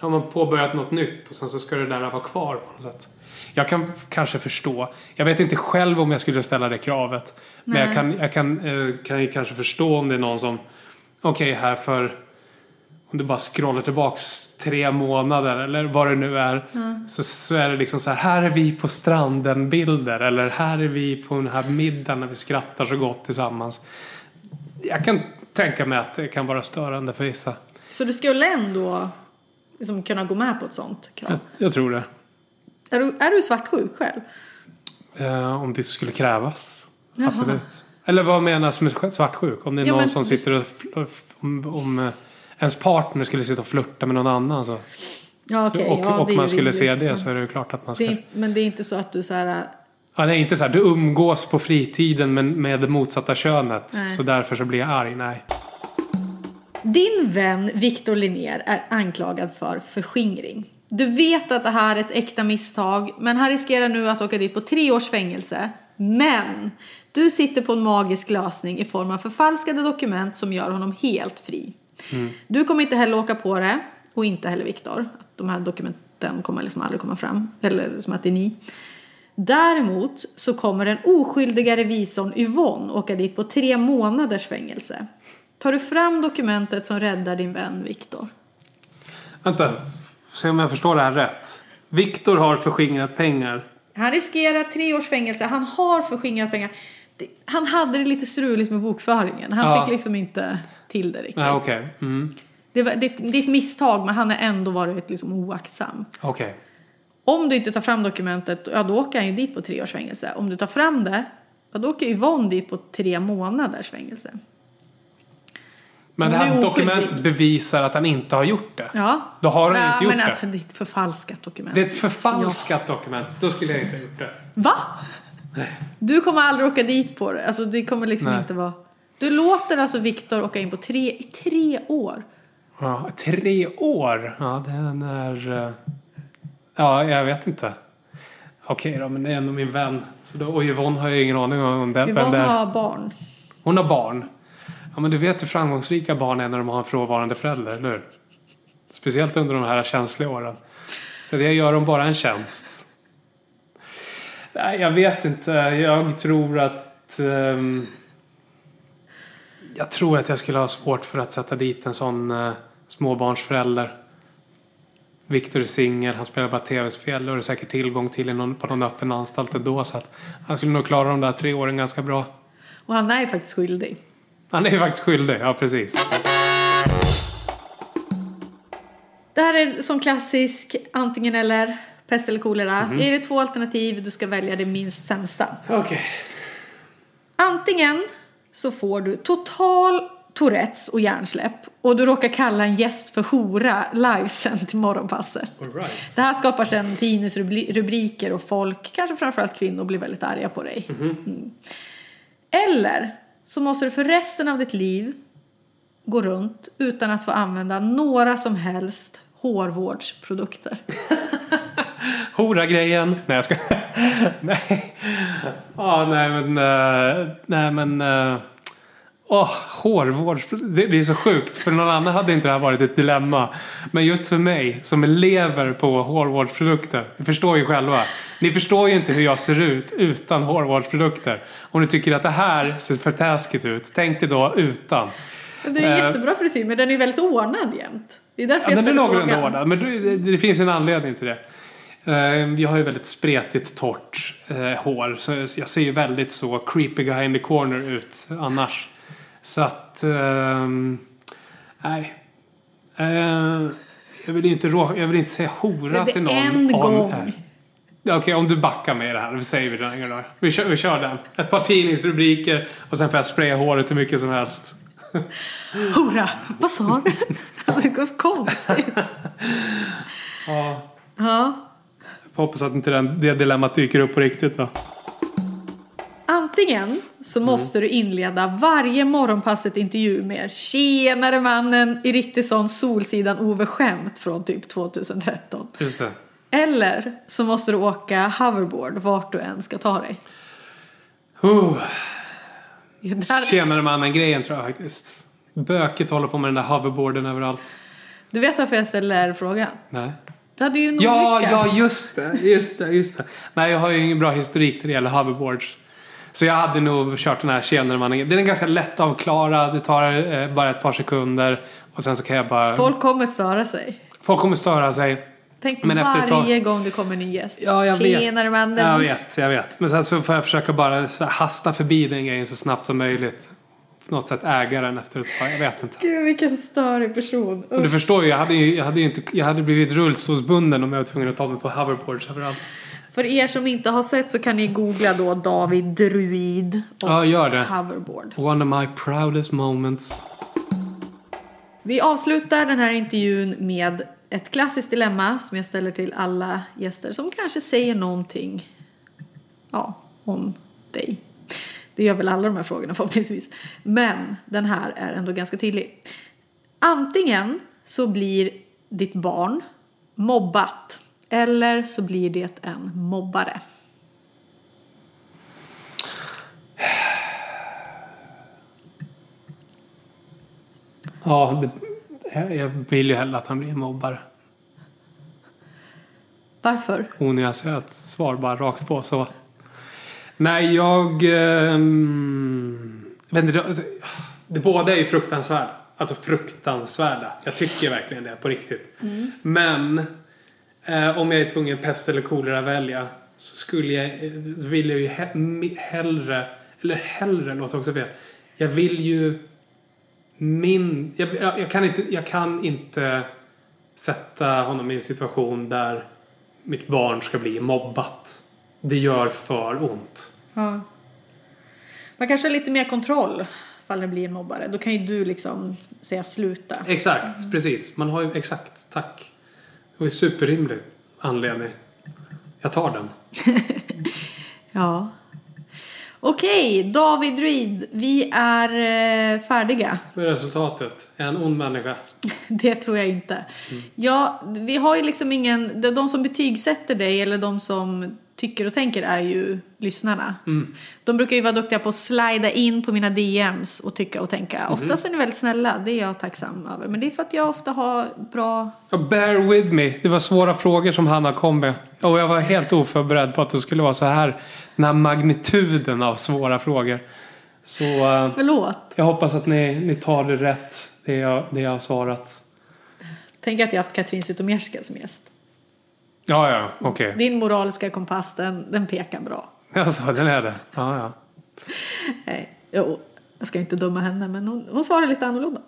S1: då har man påbörjat något nytt och sen så ska det där vara kvar på något sätt. Jag kan f- kanske förstå. Jag vet inte själv om jag skulle ställa det kravet. Men jag kan, jag kan, eh, kan ju kanske förstå om det är någon som, okej här för om du bara scrollar tillbaks tre månader eller vad det nu är. Så, så är det liksom så här, här är vi på stranden bilder. Eller här är vi på den här middagen när vi skrattar så gott tillsammans. Jag kan tänka mig att det kan vara störande för vissa.
S2: Så du skulle ändå liksom kunna gå med på ett sånt krav?
S1: Jag, jag tror det.
S2: Är du, är du svartsjuk själv?
S1: Eh, om det skulle krävas.
S2: Jaha.
S1: Absolut. Eller vad menas med sj- svartsjuk? Om det är
S2: Ja,
S1: någon
S2: men
S1: som
S2: du-
S1: sitter och... fl- f- Om, om eh, ens partner skulle sitta och flirta med någon annan så.
S2: Ja, okej.
S1: och
S2: ja,
S1: och
S2: det är
S1: man
S2: ju
S1: skulle se
S2: rimligt,
S1: det
S2: men-
S1: så är det ju klart att man ska...
S2: det är, inte- men det är inte så att du så här... äh,
S1: Ja, nej, inte så här. Du umgås på fritiden men med det motsatta könet.
S2: Nej.
S1: Så därför så blir jag arg. Nej.
S2: Din vän Victor Linnér är anklagad för förskingring. Du vet att det här är ett äkta misstag, men han riskerar nu att åka dit på tre års fängelse. Men! Du sitter på en magisk lösning i form av förfalskade dokument som gör honom helt fri. Du kommer inte heller åka på det, och inte heller Viktor. Att De här dokumenten kommer liksom aldrig komma fram, eller som att det är ni. Däremot så kommer den oskyldiga revisorn Yvonne åka dit på tre månaders fängelse. Tar du fram dokumentet som räddar din vän Viktor?
S1: Vänta. Se om jag förstår det här rätt. Viktor har förskingrat pengar.
S2: Han riskerar tre års fängelse, han har förskingrat pengar. Det- Han hade det lite struligt med bokföringen, han
S1: Ja.
S2: fick liksom inte till det riktigt.
S1: Nej, okej. Mm.
S2: Det, var, det, det är ett misstag men han har ändå varit liksom oaktsam.
S1: Okej.
S2: Om du inte tar fram dokumentet, ja då åker han ju dit på tre års fängelse. Om du tar fram det, ja då åker Yvonne dit på tre månaders fängelse.
S1: Men det
S2: Hon är
S1: här
S2: oskyldig.
S1: dokumentet bevisar att han inte har gjort det.
S2: Ja.
S1: Då har han
S2: Nej,
S1: inte gjort
S2: men
S1: det.
S2: Att det är ett förfalskat dokument.
S1: Det är ett förfalskat dokument. Då skulle jag inte ha gjort det.
S2: Va? Du kommer aldrig åka dit på det. Alltså det kommer liksom
S1: Nej.
S2: inte vara... Du låter alltså Viktor åka in på tre, i tre år.
S1: Ja, tre år. Ja, den är... eh, Ja, jag vet inte. Okej då, men det är ändå min vän. Så då, och Yvonne har jag ingen aning om det, vem det
S2: Yvonne
S1: är.
S2: har barn.
S1: Hon har barn. Ja, men du vet hur framgångsrika barn är när de har en frånvarande förälder, eller hur? Speciellt under de här känsliga åren. Så det gör dem bara en tjänst. Nej, jag vet inte. Jag tror att... ehm, jag tror att jag skulle ha svårt för att sätta dit en sån eh, småbarnsförälder. Viktor är singel, han spelar bara tv-spel och har säkert tillgång till i någon, på någon öppen anstalt ändå. Så att han skulle nog klara de där tre åren ganska bra.
S2: Och han är faktiskt skyldig.
S1: Han är ju faktiskt skyldig, ja precis.
S2: Det här är som klassisk antingen eller, pest eller kolera.
S1: Mhm.
S2: Är det två alternativ, du ska välja det minst sämsta.
S1: Okej.
S2: Antingen så får du total Tourettes och hjärnsläpp och du råkar kalla en gäst för hora livesänd till morgonpasset.
S1: Alright.
S2: Det här skapar sedan tidningsrubriker och folk, kanske framförallt kvinnor, blir väldigt arga på dig.
S1: Mhm.
S2: Mm. Eller så måste du för resten av ditt liv gå runt utan att få använda några som helst hårvårdsprodukter.
S1: Hora-grejen. Nej, jag ska... [laughs] nej. Ja, nej men... eh, nej men... eh, Åh, hårvård. Det, det är så sjukt. För någon annan hade inte det här varit ett dilemma. Men just för mig som lever på hårvårdsprodukter. Ni förstår ju själva. Ni förstår ju inte hur jag ser ut utan hårvårdsprodukter. Om ni tycker att det här ser för taskigt ut. Tänk dig då utan.
S2: Det är
S1: Eh.
S2: jättebra frisyr, men den är väldigt ordnad jämt. Det är därför
S1: Ja, den
S2: jag
S1: är
S2: ställer
S1: någorlunda
S2: frågan.
S1: ordnad. Men det, det, det finns en anledning till det. Eh, Jag har ju väldigt spretigt torrt eh, hår. Så jag ser ju väldigt så creepy guy in the corner ut annars. Så att... ehm, nej. Eh, jag, vill ju inte rå, jag vill inte säga hora
S2: Det är
S1: till någon.
S2: en
S1: om-
S2: gång.
S1: eh. Ja, Okej, om du backar med i det här. Då säger vi den en gång då. Vi kör, vi kör den. Ett par tidningsrubriker och sen får jag spraya håret hur mycket som helst.
S2: Hora! Vad sa
S1: [laughs]
S2: du? det går så konstigt.
S1: Ja.
S2: Ja.
S1: Får hoppas att inte den, det dilemmat dyker upp på riktigt då.
S2: Antingen så
S1: Mm.
S2: måste du inleda varje morgonpasset intervju med “Tjenare mannen” i riktigt sån Solsidan-Ove-skämt från typ 2013.
S1: Just det.
S2: Eller så måste du åka hoverboard vart du än ska ta dig.
S1: Oh,
S2: Det här-
S1: tjenare mannen-grejen tror jag faktiskt. Böket håller på med den där hoverboarden överallt.
S2: Du vet varför jag ställer frågan?
S1: Nej.
S2: Du hade ju en
S1: Ja,
S2: olycka.
S1: ja, just det, just det, just det. Nej, jag har ju ingen bra historik när det gäller hoverboards. Så jag hade nog kört den här tjenare mannen. Den är ganska lätt avklarad. Det tar eh, bara ett par sekunder. Och sen så kan jag bara... Folk,
S2: Folk kommer störa sig.
S1: kommer störa sig.
S2: Tänk
S1: Men efter ett tag-
S2: varje gång det kommer en ny gäst.
S1: Ja, jag vet.
S2: “Tjenare mannen”.
S1: Jag vet, jag vet. Men sen så får jag försöka bara så här, hasta förbi den grejen så snabbt som möjligt. På något sätt äga den efter ett tag. Jag vet inte.
S2: Gud vilken störig person.
S1: Men
S2: Usch.
S1: Du förstår ju, jag hade, ju- jag hade, ju inte, jag hade blivit rullstolsbunden om jag var tvungen att ta mig på hoverboards överallt.
S2: För er som inte har sett så kan ni googla då David Druid och
S1: Ja, gör det.
S2: hoverboard.
S1: One of my proudest moments.
S2: Vi avslutar den här intervjun med ett klassiskt dilemma som jag ställer till alla gäster som kanske säger någonting ja, om dig. Det gör väl alla de här frågorna [laughs] förhoppningsvis. Men den här är ändå ganska tydlig. Antingen så blir ditt barn mobbat eller så blir det en mobbare.
S1: Ja, det, jag vill ju hellre att han blir en mobbare.
S2: Varför?
S1: onyanserat svar bara rakt på så. Nej, jag... ehm, vet inte, det, alltså, det båda är ju fruktansvärda. Alltså fruktansvärda. Jag tycker verkligen det på riktigt. Men eh, om jag är tvungen pest eller kolera välja så skulle jag, eh, så vill jag ju he, mi- hellre, eller hellre låter också fel. Jag vill ju min, jag, jag, jag kan inte, jag kan inte sätta honom i en situation där mitt barn ska bli mobbat. Det gör för ont.
S2: Ja. Man kanske har lite mer kontroll ifall det blir en mobbare. Då kan ju du liksom säga sluta.
S1: Exakt, precis. Man har ju, exakt, tack. Det var ju superrimlig anledning. Jag tar den.
S2: Ja. Okej, David Druid, vi är eh, färdiga. [laughs]
S1: Vad är resultatet? Är jag en ond människa?
S2: Det tror jag inte. Ja, vi har ju liksom ingen... de- De som betygsätter dig eller de som tycker och tänker är ju lyssnarna. De brukar ju vara duktiga på att slida in på mina DMs och tycka och tänka. Oftast är ni väldigt snälla, det är jag tacksam över. Men det är för att jag ofta har bra
S1: Ja, Bear with me. Det var svåra frågor som Hanna kom med. Och jag var helt oförberedd på att det skulle vara så här. Den här magnituden av svåra frågor. Så eh,
S2: Förlåt.
S1: jag hoppas att ni, ni tar det rätt. Det jag, det jag har svarat.
S2: Tänk att jag haft Katrin Zytomierska som gäst.
S1: Ja, ja, okej.
S2: Din moraliska kompass, den, den pekar bra.
S1: Alltså, den är det. Ja, ja.
S2: Nej, jo, jag ska inte döma henne, men hon, hon svarar lite annorlunda.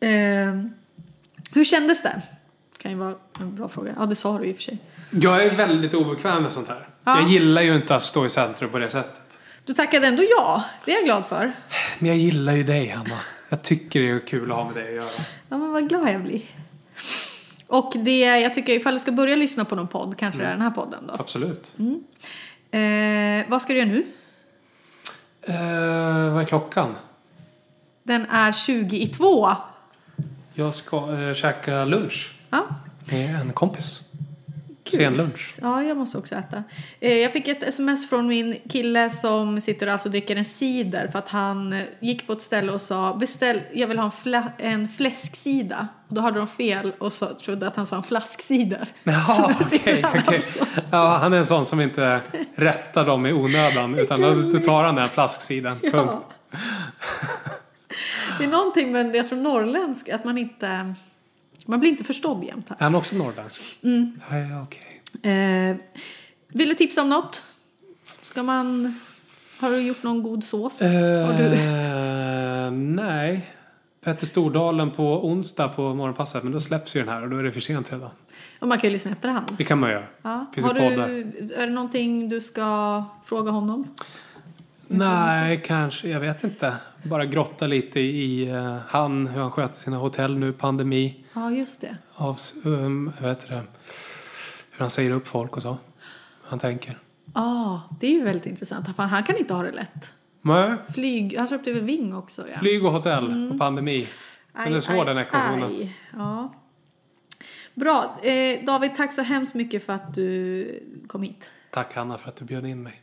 S2: Eh, hur kändes det? Kan ju vara en bra fråga. Ja, det sa du ju i och för sig.
S1: Jag är väldigt obekväm med sånt här.
S2: Ja.
S1: Jag gillar ju inte att stå i centrum på det sättet.
S2: Du tackade ändå ja. Det är jag glad för.
S1: Men jag gillar ju dig, Hanna. Jag tycker det är kul att ha med dig att göra.
S2: Ja, men vad glad jag blir. Och det, jag tycker ifall du ska börja lyssna på någon podd, kanske det är den här podden då.
S1: Absolut.
S2: Eh, vad ska du göra nu?
S1: Eh, vad är klockan?
S2: Den är 20 i två.
S1: Jag ska eh, käka lunch
S2: Ja,
S1: med en kompis. Sen [laughs] lunch.
S2: Ja, jag måste också äta. Eh, Jag fick ett sms från min kille som sitter och alltså dricker en cider för att han eh, gick på ett ställe och sa beställ, jag vill ha en, fla- en fläsksida. Och då hörde de fel och så, trodde att han sa en flaskcider. [laughs] Så
S1: Jaha,
S2: där sitter
S1: okej.
S2: han
S1: okej.
S2: alltså.
S1: Ja, han är en sån som inte rättar dem i onödan. Utan då- då tar han den flasksidan. Punkt.
S2: [laughs] Det är någonting men jag tror norrländsk, att man inte, man blir inte förstådd jämt här.
S1: Är han också norrländsk? Mm. Ja, ja, okej.
S2: Eh, vill du tipsa om något? Ska man, har du gjort någon god sås? Har du,
S1: Eh, nej. Petter Stordalen på onsdag på morgonpasset. Men då släpps ju den här och då är det för sent redan.
S2: och man kan ju lyssna i efterhand.
S1: Det kan man göra.
S2: Ja.
S1: Finns
S2: Har
S1: ju
S2: du,
S1: poddar.
S2: är det någonting du ska fråga honom?
S1: Nej, kanske. Jag vet inte. Bara grotta lite i eh, han, hur han sköter sina hotell nu, pandemi.
S2: Ja, just det.
S1: Av, um, vad heter det? Hur han säger upp folk och så. Han tänker.
S2: Ja, det är ju väldigt intressant. Fan, han kan inte ha det lätt.
S1: Nej,
S2: Flyg, han köpte väl Ving också? Ja.
S1: flyg och hotell
S2: Mm.
S1: och pandemi.
S2: Aj,
S1: Men det är
S2: aj,
S1: svår den här coronan.
S2: aj. Ja. Bra. Eh, David, tack så hemskt mycket för att du kom hit.
S1: Tack Hanna för att du bjöd in mig.